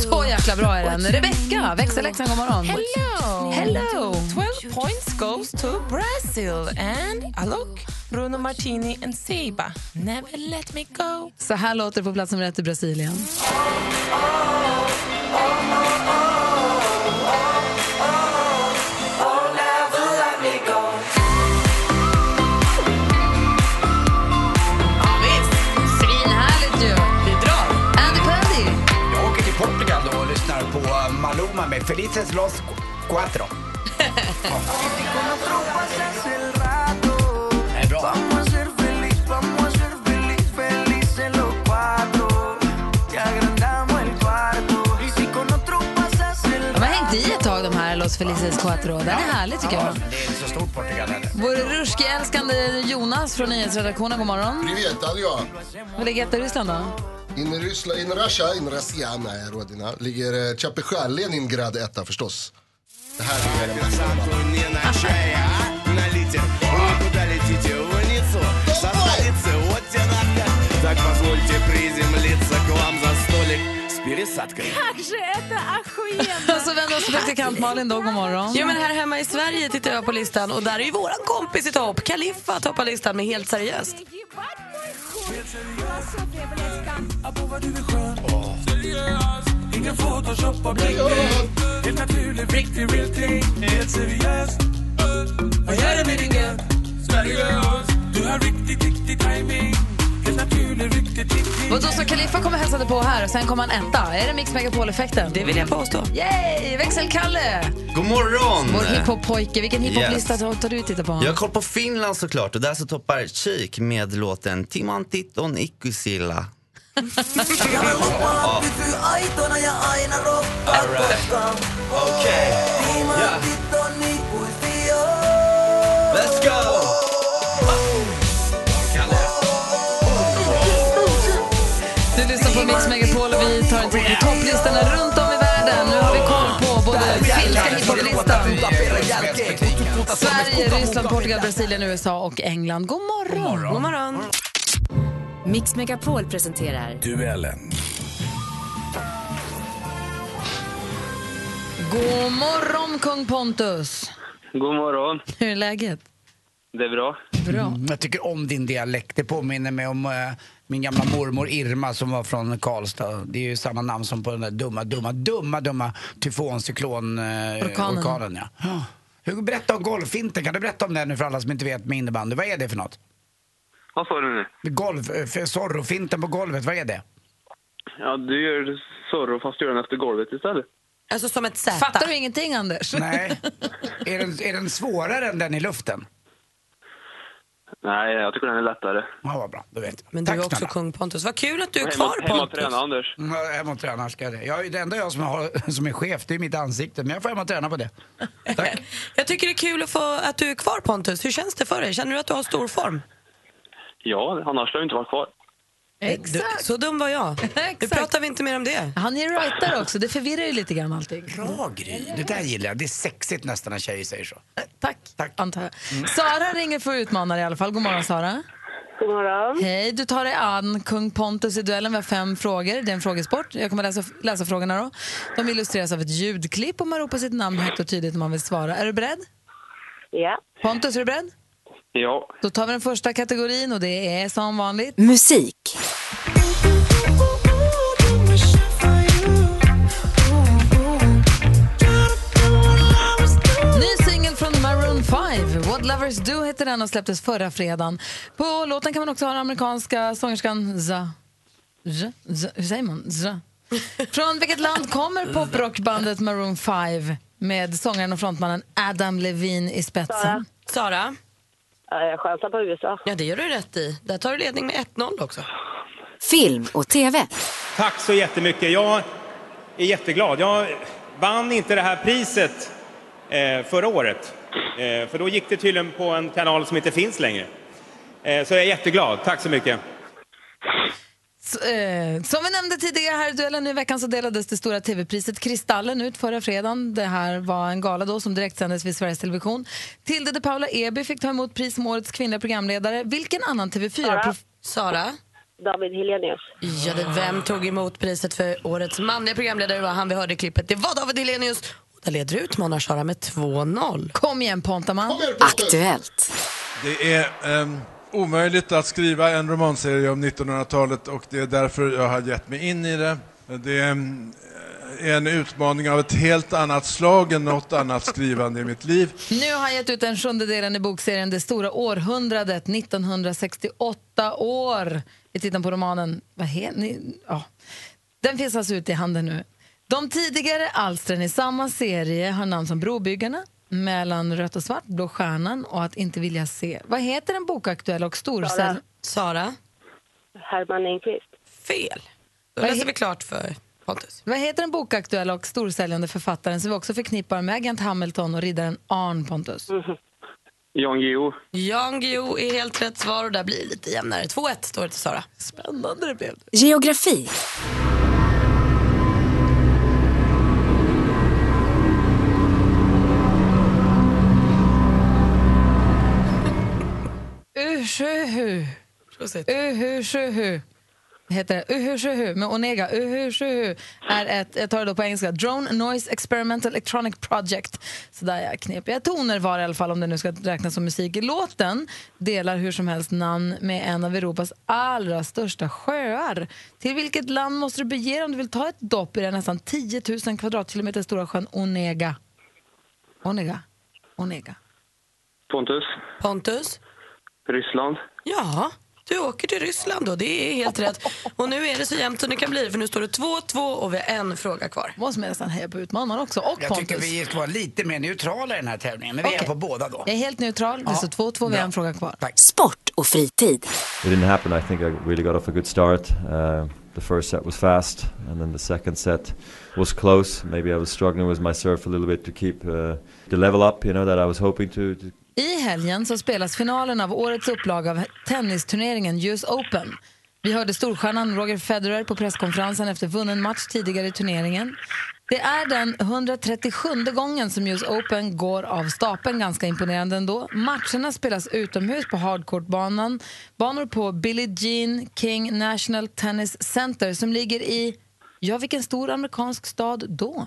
[SPEAKER 2] Så jäkla bra är den. Rebecca, växelläxan, god morgon.
[SPEAKER 8] Hello!
[SPEAKER 2] Hello!
[SPEAKER 8] 12 points goes to Brazil and Alok, Bruno Martini and Seiba. Never let me go.
[SPEAKER 2] Så här låter det på plats nummer ett i Brasilien. Svinhärligt ju!
[SPEAKER 3] Vi drar!
[SPEAKER 2] Andy Pandy!
[SPEAKER 4] Jag åker till Portugal då och lyssnar på eh, Maluma med Felices Los Cu- Cuatro. Ja. Det är bra.
[SPEAKER 2] De har hängt i ett tag, de här Los Felices Cuatro. Den är härlig, tycker
[SPEAKER 4] Ja,
[SPEAKER 2] jag.
[SPEAKER 4] men det är inte så stort Portugal heller.
[SPEAKER 2] Vår ruskälskande Jonas från nyhetsredaktionen, god morgon.
[SPEAKER 10] Привет, алло.
[SPEAKER 2] Vad ligger etta i Ryssland då?
[SPEAKER 10] In Ryssland, in Russia, in Russia, nej, rodina, ligger Chapechal, Leningrad etta förstås. Det här är den bästa.
[SPEAKER 2] Så vänder oss till praktikant Malin då, god morgon.
[SPEAKER 3] Ja, men här hemma i Sverige tittar jag på listan och där är ju våran kompis i topp. Kaliffa toppar listan med Helt seriöst.
[SPEAKER 2] Vadå, så Kaliffa kommer hälsade på här och sen kommer han etta? Är det Mix Megapol-effekten?
[SPEAKER 3] Det vill jag påstå.
[SPEAKER 2] Yay! Växelkalle!
[SPEAKER 8] God morgon!
[SPEAKER 2] Vår hiphop-pojke. Vilken hiphop-lista tar- tar du och tittar på?
[SPEAKER 8] Jag har koll på Finland såklart och där så toppar Cheek med låten Timon Titton Ikkusilla. Let's go!
[SPEAKER 2] Du lyssnar på Mix Megapol och vi tar en titt i topplistorna runt om i världen. Nu har vi koll på både finska hiphoplistan, Sverige, Ryssland, Portugal, Brasilien, USA och England. God morgon!
[SPEAKER 3] God morgon.
[SPEAKER 9] Mix Megapol presenterar
[SPEAKER 2] God morgon, kung Pontus!
[SPEAKER 4] God morgon.
[SPEAKER 2] Hur är läget?
[SPEAKER 4] Det är bra.
[SPEAKER 2] Bra.
[SPEAKER 4] Mm, jag tycker om din dialekt. Det påminner mig om eh, min gamla mormor Irma som var från Karlstad. Det är ju samma namn som på den där dumma, dumma, dumma, dumma tyfoncyklon-orkanen. Eh,
[SPEAKER 2] Orkanen.
[SPEAKER 4] orkanen, ja. Ja. Hugo, berätta om golffinten. Kan du berätta om den nu för alla som inte vet med innebandy? Vad är det för något?
[SPEAKER 7] Vad sa du nu?
[SPEAKER 4] Golf, eh, för Zorro-finten på golvet, vad är det?
[SPEAKER 7] Ja, du gör Zorro fast du gör den efter golvet istället.
[SPEAKER 3] Alltså som ett Z.
[SPEAKER 2] Fattar du ingenting, Anders?
[SPEAKER 4] Nej. Är den, är den svårare än den i luften?
[SPEAKER 7] Nej, jag tycker den är lättare.
[SPEAKER 4] Ja, vad bra. Då vet jag.
[SPEAKER 3] Men du är också kung Pontus. Vad kul att du är
[SPEAKER 7] Hemma-
[SPEAKER 3] kvar
[SPEAKER 7] hemma och
[SPEAKER 3] Pontus.
[SPEAKER 7] träna, Anders.
[SPEAKER 4] Mm, Jag är hemma och tränar, ska jag det. Jag är ju det enda jag som, har, som är chef, det är mitt ansikte. Men jag får hemma och träna på det.
[SPEAKER 3] Jag tycker det är kul att, få, att du är kvar Pontus. Hur känns det för dig? Känner du att du har stor form?
[SPEAKER 7] Ja, annars skulle jag inte vara kvar.
[SPEAKER 3] Exakt. så dum var jag. Nu pratar vi inte mer om det.
[SPEAKER 2] Han är writer också, det förvirrar ju lite grann allting.
[SPEAKER 4] Bra Gry, det där gillar jag. Det är sexigt nästan när tjejer säger så.
[SPEAKER 2] Tack, antar jag. Sara ringer för att utmana dig i alla fall. God morgon, Sara.
[SPEAKER 11] God morgon.
[SPEAKER 2] Hej, du tar dig an kung Pontus i duellen. Vi har fem frågor. Det är en frågesport. Jag kommer läsa, läsa frågorna då. De illustreras av ett ljudklipp och man ropar sitt namn högt och tydligt när man vill svara. Är du beredd?
[SPEAKER 11] Ja.
[SPEAKER 2] Pontus, är du beredd?
[SPEAKER 7] Ja.
[SPEAKER 2] Då tar vi den första kategorin och det är som vanligt...
[SPEAKER 12] Musik.
[SPEAKER 2] Ny singel från Maroon 5, What Lovers Do heter den och släpptes förra fredagen. På låten kan man också höra amerikanska sångerskan Za. Z, Z, hur säger man? Z. Från vilket land kommer poprockbandet Maroon 5 med sångaren och frontmannen Adam Levine i spetsen?
[SPEAKER 3] Sara?
[SPEAKER 11] Jag chansar på USA.
[SPEAKER 3] Ja, det gör du rätt i. Där tar du ledning med 1-0 också.
[SPEAKER 12] Film och TV.
[SPEAKER 9] Tack så jättemycket. Jag är jätteglad. Jag vann inte det här priset eh, förra året. Eh, för då gick det tydligen på en kanal som inte finns längre. Eh, så jag är jätteglad. Tack så mycket.
[SPEAKER 2] S- eh, Som vi nämnde tidigare här i duellen nu i veckan så delades det stora tv-priset Kristallen ut förra fredagen. Det här var en gala då som direktsändes vid Sveriges Television. Tilde de Paula Eby fick ta emot pris som årets kvinnliga programledare. Vilken annan TV4...
[SPEAKER 3] Sara?
[SPEAKER 11] David Hellenius.
[SPEAKER 3] Ja, det, vem tog emot priset för årets manliga programledare? Det var han vi hörde i klippet. Det var David Hellenius. Och Där leder du utmanar Sara med 2-0.
[SPEAKER 2] Kom igen Pontaman.
[SPEAKER 12] Aktuellt.
[SPEAKER 13] Det är ehm, omöjligt att skriva en romanserie om 1900-talet och det är därför jag har gett mig in i det. Det ehm, är en utmaning av ett helt annat slag än något annat skrivande i mitt liv.
[SPEAKER 2] Nu har han gett ut den sjunde delen i bokserien Det stora århundradet, 1968 år. Vi tittar på romanen. Vad heter ni? Ja. Den finns alltså ute i handen nu. De tidigare alstren i samma serie har namn som Brobyggarna, Mellan rött och svart, Blå stjärnan och Att inte vilja se. Vad heter den bokaktuella och storsäljande...
[SPEAKER 3] Sara?
[SPEAKER 11] Herman Enquist.
[SPEAKER 3] Fel. Då
[SPEAKER 2] Vad
[SPEAKER 3] läser
[SPEAKER 2] he-
[SPEAKER 3] vi klart för Pontus.
[SPEAKER 2] Vad heter den bokaktuella och storsäljande författaren som vi också förknippar med Agent Hamilton och riddaren Arn Pontus?
[SPEAKER 7] Jan Guillou.
[SPEAKER 3] Jan Guillou är helt rätt svar och där blir det lite jämnare. 2-1 står det till Sara.
[SPEAKER 2] Spännande det blev.
[SPEAKER 12] Geografi.
[SPEAKER 2] Uhuhu. Uhushuhu. Heter det. Uhushuhu med Onega. Uhushuhu är ett, jag tar det då på engelska, Drone Noise Experimental Electronic Project. Så där jag knepiga toner var det i alla fall om det nu ska räknas som musik. Låten delar hur som helst namn med en av Europas allra största sjöar. Till vilket land måste du bege dig om du vill ta ett dopp i den nästan 10 000 kvadratkilometer stora sjön Onega? Onega? Onega.
[SPEAKER 7] Pontus.
[SPEAKER 3] Pontus?
[SPEAKER 7] Ryssland.
[SPEAKER 3] Ja, du åker till Ryssland då. Det är helt rätt. Och nu är det så jämnt som det kan bli för nu står det 2-2 och vi har en fråga kvar.
[SPEAKER 2] Måste man nästan heja på utmanaren också och
[SPEAKER 4] Jag
[SPEAKER 2] Pontus.
[SPEAKER 4] tycker vi ska vara lite mer neutrala i den här tävlingen, men vi är
[SPEAKER 2] Okej.
[SPEAKER 4] på båda då.
[SPEAKER 2] Jag är helt neutral. Det står 2-2. Vi har en fråga kvar.
[SPEAKER 12] Sport och fritid.
[SPEAKER 14] It didn't happen. I think I really got off a good start. Uh, the first set was fast, and then the second set was close. Maybe I was struggling with my serve a little bit to keep uh, the level up, you know, that I was hoping to. to
[SPEAKER 2] I helgen så spelas finalen av årets upplaga av tennisturneringen US Open. Vi hörde storstjärnan Roger Federer på presskonferensen efter vunnen match tidigare i turneringen. Det är den 137 gången som US Open går av stapeln, ganska imponerande ändå. Matcherna spelas utomhus på hardcourtbanan, banor på Billie Jean King National Tennis Center som ligger i, ja vilken stor amerikansk stad då?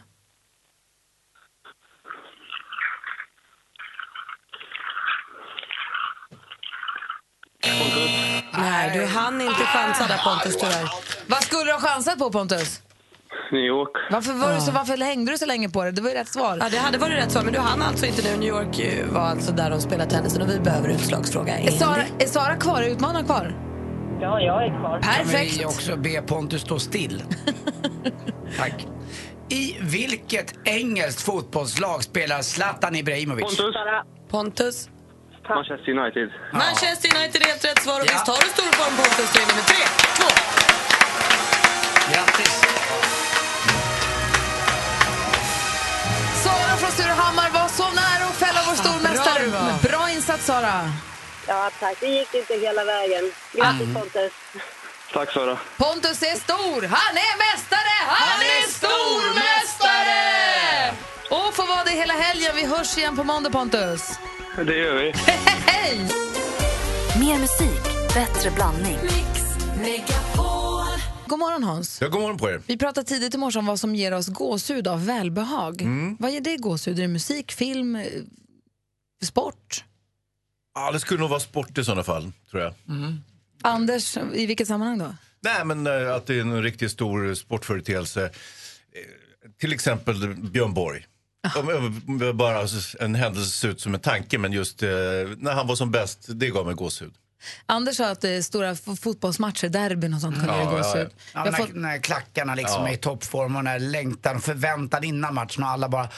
[SPEAKER 3] där. Du hann inte chansa där Pontus tyvärr.
[SPEAKER 2] Vad skulle du ha chansat på Pontus?
[SPEAKER 15] New York.
[SPEAKER 2] Varför, var du så,
[SPEAKER 3] Ah.
[SPEAKER 2] varför hängde du så länge på det? Det var ju rätt svar.
[SPEAKER 3] Ja, det hade varit rätt svar, men du hann alltså inte nu. New York eh, var alltså där de spelade tennisen och vi behöver utslagsfråga.
[SPEAKER 2] Är Sara, är Sara kvar? Är utmanaren kvar?
[SPEAKER 16] Ja, jag är kvar.
[SPEAKER 2] Perfekt.
[SPEAKER 4] Kan vi också be Pontus stå still? Tack. I vilket engelskt fotbollslag spelar Zlatan Ibrahimovic?
[SPEAKER 15] Pontus.
[SPEAKER 3] Pontus.
[SPEAKER 15] Manchester United.
[SPEAKER 3] Manchester United är ett rätt svar och visst har du stor form Pontus. Du är nummer tre, två.
[SPEAKER 4] Grattis!
[SPEAKER 2] Sara från Surahammar var så nära att fälla vår stormästare.
[SPEAKER 16] Bra det var.
[SPEAKER 2] Bra insats Sara.
[SPEAKER 16] Ja, tack. Det gick inte hela vägen. Grattis,
[SPEAKER 15] Mm.
[SPEAKER 16] Pontus.
[SPEAKER 15] Tack Sara.
[SPEAKER 2] Pontus är stor, han är mästare, han,
[SPEAKER 16] Han
[SPEAKER 2] är
[SPEAKER 16] är
[SPEAKER 2] stormästare! Och får vara det hela helgen. Vi hörs igen på måndag Pontus.
[SPEAKER 15] Det gör vi.
[SPEAKER 2] Hej!
[SPEAKER 9] Mer musik, bättre blandning.
[SPEAKER 2] God morgon Hans.
[SPEAKER 17] Ja, god morgon på er.
[SPEAKER 2] Vi pratade tidigt i morse om vad som ger oss gåshud av välbehag.
[SPEAKER 17] Mm.
[SPEAKER 2] Vad ger det gåshud? Är det musik, film, eh, sport?
[SPEAKER 17] Ja, det skulle nog vara sport i sådana fall, tror jag.
[SPEAKER 2] Anders, i vilket sammanhang då?
[SPEAKER 17] Nej, men eh, att det är en riktigt stor sportföreteelse. Eh, Till exempel Björn Borg. Om om jag bara en händelse ser ut som en tanke, men just eh, när han var som bäst, det gav mig gåshud.
[SPEAKER 2] Anders sa att det är stora f- fotbollsmatcher, derbyn och sånt kan
[SPEAKER 17] Ja,
[SPEAKER 2] ge gåshud.
[SPEAKER 4] Ja,
[SPEAKER 2] Jag
[SPEAKER 4] när,
[SPEAKER 2] får-
[SPEAKER 4] när klackarna liksom
[SPEAKER 17] Ja.
[SPEAKER 4] är i toppform och när längtan, förväntan innan matchen och alla bara...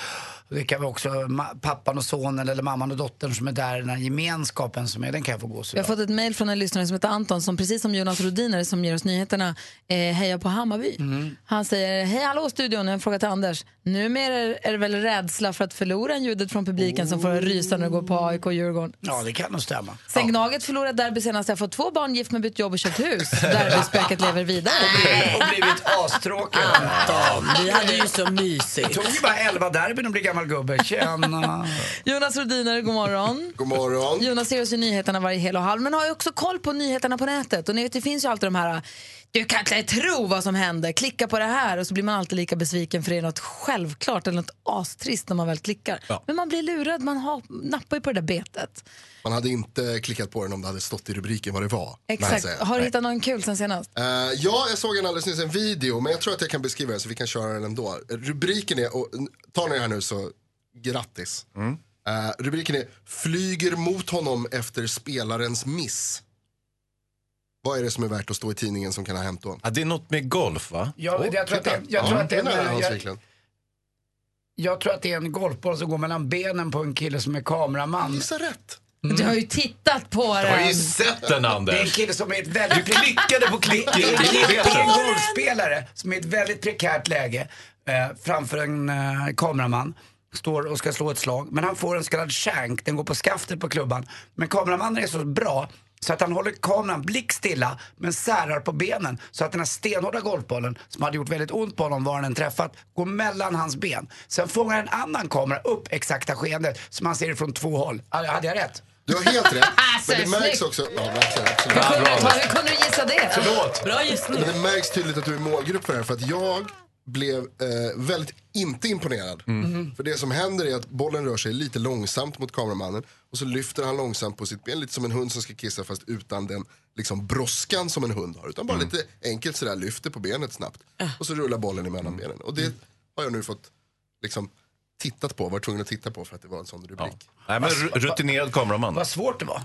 [SPEAKER 4] Det kan vara också ma- pappan och sonen eller mamman och dottern som är där, den här gemenskapen som är, den kan jag få
[SPEAKER 2] Vi
[SPEAKER 4] gåshud
[SPEAKER 2] har
[SPEAKER 4] av.
[SPEAKER 2] fått ett mejl från en lyssnare som heter Anton som precis som Jonas Rodiner som ger oss nyheterna eh, hejar på Hammarby.
[SPEAKER 17] Mm.
[SPEAKER 2] Han säger hej hallå studion, en fråga till Anders. Numera är det väl rädsla för att förlora än ljudet från publiken som
[SPEAKER 17] Oh.
[SPEAKER 2] får en rysa när det går på AIK och Djurgården.
[SPEAKER 4] Ja, det kan nog stämma.
[SPEAKER 2] Sen Gnaget förlorade derby senast, jag fått två barn, gift mig, bytt jobb och köpt hus. Derbyspöket lever vidare.
[SPEAKER 4] Och blivit astråkig.
[SPEAKER 3] Anton, vi hade ju så mysigt.
[SPEAKER 4] Det tog ju bara elva derbyn att bli gammal gubbe. Tjena!
[SPEAKER 2] Jonas Rodiner, god morgon.
[SPEAKER 10] God morgon.
[SPEAKER 2] Jonas ger oss ju nyheterna varje hel och halv, men har ju också koll på nyheterna på nätet. Och ni vet, det finns ju alltid de här, du kan inte tro vad som hände, klicka på det här och så blir man alltid lika besviken för det är något självklart eller något astrist när man väl klickar.
[SPEAKER 10] Ja.
[SPEAKER 2] Men man blir lurad, man har, nappar ju på det där betet.
[SPEAKER 10] Man hade inte klickat på den om det hade stått i rubriken vad det var.
[SPEAKER 2] Exakt.
[SPEAKER 10] Nej, säger jag.
[SPEAKER 2] har du
[SPEAKER 10] Nej.
[SPEAKER 2] hittat någon kul sen senast?
[SPEAKER 10] Eh, ja, jag såg en alldeles nyss, en video, men jag tror att jag kan beskriva den så vi kan köra den ändå. Rubriken är, och n- tar ni det här nu så grattis. Eh, rubriken är “Flyger mot honom efter spelarens miss”. Vad är det som är värt att stå i tidningen som kan ha hänt då?
[SPEAKER 17] Ja, det är något med golf, va?
[SPEAKER 4] Ja,
[SPEAKER 10] Åh,
[SPEAKER 4] jag tror att det-
[SPEAKER 10] titta.
[SPEAKER 4] jag tror
[SPEAKER 10] Ja,
[SPEAKER 4] att det är-
[SPEAKER 10] är nära hans
[SPEAKER 4] jag-
[SPEAKER 10] verkligen.
[SPEAKER 4] Jag tror att det är en golfboll som går mellan benen på en kille som är kameraman. Gissa
[SPEAKER 10] rätt.
[SPEAKER 2] Du har ju tittat på den.
[SPEAKER 17] Jag har ju sett den, Anders.
[SPEAKER 4] Det är en kille som är ett väldigt...
[SPEAKER 17] Du klickade på klick.
[SPEAKER 4] Det är en kille- det är en golfspelare som är i ett väldigt prekärt läge eh, framför en eh, kameraman. Står och ska slå ett slag, men han får en så kallad shank, den går på skaftet på klubban. Men kameramannen är så bra så att han håller kameran blickstilla men särar på benen så att den här stenhårda golfbollen som hade gjort väldigt ont på honom var den träffat går mellan hans ben. Sen fångar en annan kamera upp exakta skeendet som man ser det från två håll. Alltså, Hade jag rätt?
[SPEAKER 10] Du har helt rätt.
[SPEAKER 4] Alltså,
[SPEAKER 10] men det märks
[SPEAKER 4] snyggt.
[SPEAKER 10] också... Ja, verkligen, absolut.
[SPEAKER 4] Hur kunde- Ja, bra.
[SPEAKER 2] hur kunde du gissa det?
[SPEAKER 4] Förlåt.
[SPEAKER 3] Bra gissning.
[SPEAKER 10] Men det märks tydligt att du är målgrupp för det här för att jag blev eh, väldigt inte imponerad. För det som händer är att bollen rör sig lite långsamt mot kameramannen och så lyfter han långsamt på sitt ben lite som en hund som ska kissa fast utan den liksom brådskan som en hund har. Utan bara lite enkelt sådär lyfter på benet snabbt och så rullar bollen emellan benen. Och det har jag nu fått liksom tittat på, var tvungen att titta på för att det var en sån rubrik.
[SPEAKER 17] Nej, men ru- rutinerad kameraman. Vad
[SPEAKER 4] svårt det var.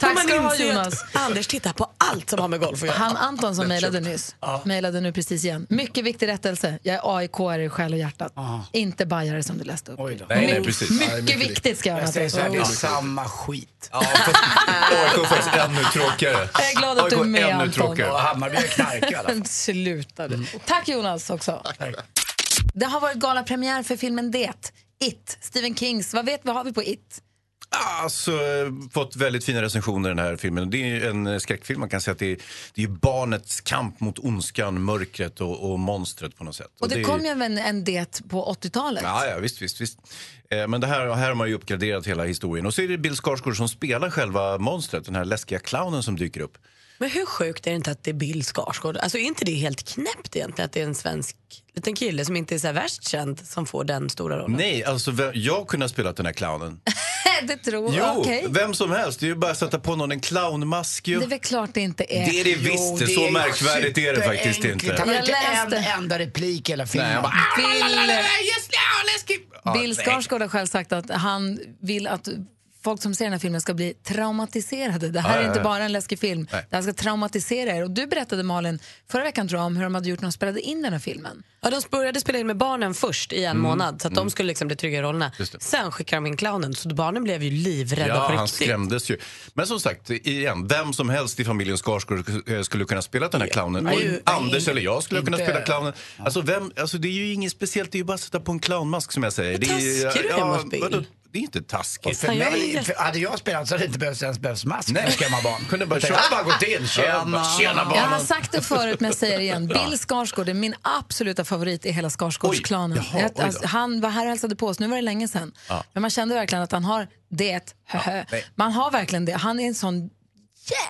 [SPEAKER 2] Tack
[SPEAKER 3] Man
[SPEAKER 2] ska du ha
[SPEAKER 3] inser ju
[SPEAKER 2] Jonas.
[SPEAKER 3] att Anders tittar på allt som har med golf att göra.
[SPEAKER 2] Han Anton som
[SPEAKER 3] Lättköpt.
[SPEAKER 2] mejlade nyss, mejlade nu precis igen. Mycket viktig rättelse. Jag är AIK-are i själ och hjärtat. Inte bajare som du läste upp.
[SPEAKER 17] Nej, nej,
[SPEAKER 2] My-
[SPEAKER 17] precis.
[SPEAKER 2] Mycket,
[SPEAKER 17] Nej, mycket
[SPEAKER 2] viktigt ska jag
[SPEAKER 4] Jag säger så här, det är
[SPEAKER 2] Oh.
[SPEAKER 4] samma skit.
[SPEAKER 17] Ja, fast AIK är faktiskt ännu tråkigare.
[SPEAKER 2] Jag är glad att du är
[SPEAKER 17] AIK
[SPEAKER 2] med,
[SPEAKER 17] ännu
[SPEAKER 2] Anton.
[SPEAKER 17] tråkigare.
[SPEAKER 2] Och Hammarby
[SPEAKER 4] är knark i alla fall.
[SPEAKER 2] Sluta du. Tack Jonas också. Det har varit galapremiär för filmen Det, It, Stephen Kings. Vad vet vi, har vi på It?
[SPEAKER 17] Alltså, eh, fått väldigt fina recensioner i den här filmen. Och Det är ju en eh, skräckfilm. Man kan säga att det är, det är ju barnets kamp mot ondskan, mörkret och, och monstret på något sätt.
[SPEAKER 2] Och det,
[SPEAKER 17] är-
[SPEAKER 2] kom ju en, en Det på 80-talet.
[SPEAKER 17] Ja, ja, visst, visst, visst. Eh, Men det här, här har man ju uppgraderat hela historien. Och så är det Bill Skarsgård som spelar själva monstret, den här läskiga clownen som dyker upp.
[SPEAKER 3] Men hur sjukt är det inte att det är Bill Skarsgård? Alltså är inte det helt knäppt egentligen att det är en svensk liten kille som inte är så här värst känd som får den stora rollen?
[SPEAKER 17] Nej, alltså vem- jag kunde ha spelat den här clownen.
[SPEAKER 2] det tror
[SPEAKER 17] Jo,
[SPEAKER 2] jag. Oh, Okej.
[SPEAKER 17] vem som helst. Det är ju bara att sätta på någon en clownmask ju.
[SPEAKER 2] Det är väl klart det inte är.
[SPEAKER 17] Det är det visst, det är så märkvärdigt är det faktiskt inte.
[SPEAKER 4] Han har
[SPEAKER 2] Jag
[SPEAKER 4] inte en
[SPEAKER 2] läste.
[SPEAKER 4] enda replik i hela filmen. "Ah,
[SPEAKER 17] Nej, han bara,
[SPEAKER 2] Bill,
[SPEAKER 4] Ja,
[SPEAKER 2] Bill
[SPEAKER 4] nej.
[SPEAKER 2] Skarsgård har själv sagt att han vill att folk som ser den här filmen ska bli traumatiserade. Det här
[SPEAKER 18] Ja,
[SPEAKER 2] är
[SPEAKER 18] ja,
[SPEAKER 2] inte
[SPEAKER 18] ja.
[SPEAKER 2] bara en läskig film.
[SPEAKER 18] Nej.
[SPEAKER 2] Det här ska traumatisera er. Och du berättade, Malin, förra veckan tror jag, om hur de hade gjort när de spelade in den här filmen.
[SPEAKER 3] Ja, de började spela in med barnen först i en
[SPEAKER 2] Mm,
[SPEAKER 3] månad så att
[SPEAKER 17] mm.
[SPEAKER 3] de skulle liksom bli trygga i rollerna. Sen skickade de in clownen så barnen blev ju livrädda
[SPEAKER 17] Ja,
[SPEAKER 3] på
[SPEAKER 17] han
[SPEAKER 3] riktigt.
[SPEAKER 17] skrämdes ju. Men som sagt, igen, vem som helst i familjen Skarsgård eh, skulle kunna spela den här clownen.
[SPEAKER 3] Nej,
[SPEAKER 17] Och
[SPEAKER 3] ju-
[SPEAKER 17] Anders eller jag skulle
[SPEAKER 3] inte.
[SPEAKER 17] kunna spela clownen. Alltså, vem, alltså, det är ju inget speciellt, det är ju bara att sätta på en clownmask som jag säger. Det är,
[SPEAKER 4] taskig du är mot Bill.
[SPEAKER 17] vadå? det är inte
[SPEAKER 4] Och
[SPEAKER 17] taskigt.
[SPEAKER 4] för mig, för, hade jag spelat så hade det inte behövts ens behövts mask för att skrämma barn.
[SPEAKER 17] Kunde bara-
[SPEAKER 4] Utan jag hade bara gått in,
[SPEAKER 17] Ja,
[SPEAKER 4] tjena,
[SPEAKER 17] bara, tjena,
[SPEAKER 2] Jag har sagt det förut men jag säger det igen.
[SPEAKER 4] Ja.
[SPEAKER 2] Bill Skarsgård är min absoluta favorit i hela Skarsgårdsklanen.
[SPEAKER 4] Oj, jaha,
[SPEAKER 2] Jag-
[SPEAKER 4] oj då.
[SPEAKER 2] alltså, han var här och hälsade på oss, nu var det länge sedan.
[SPEAKER 4] Ja.
[SPEAKER 2] Men man kände verkligen att han har det. höhö.
[SPEAKER 4] nej.
[SPEAKER 2] man har verkligen det. Han är en sån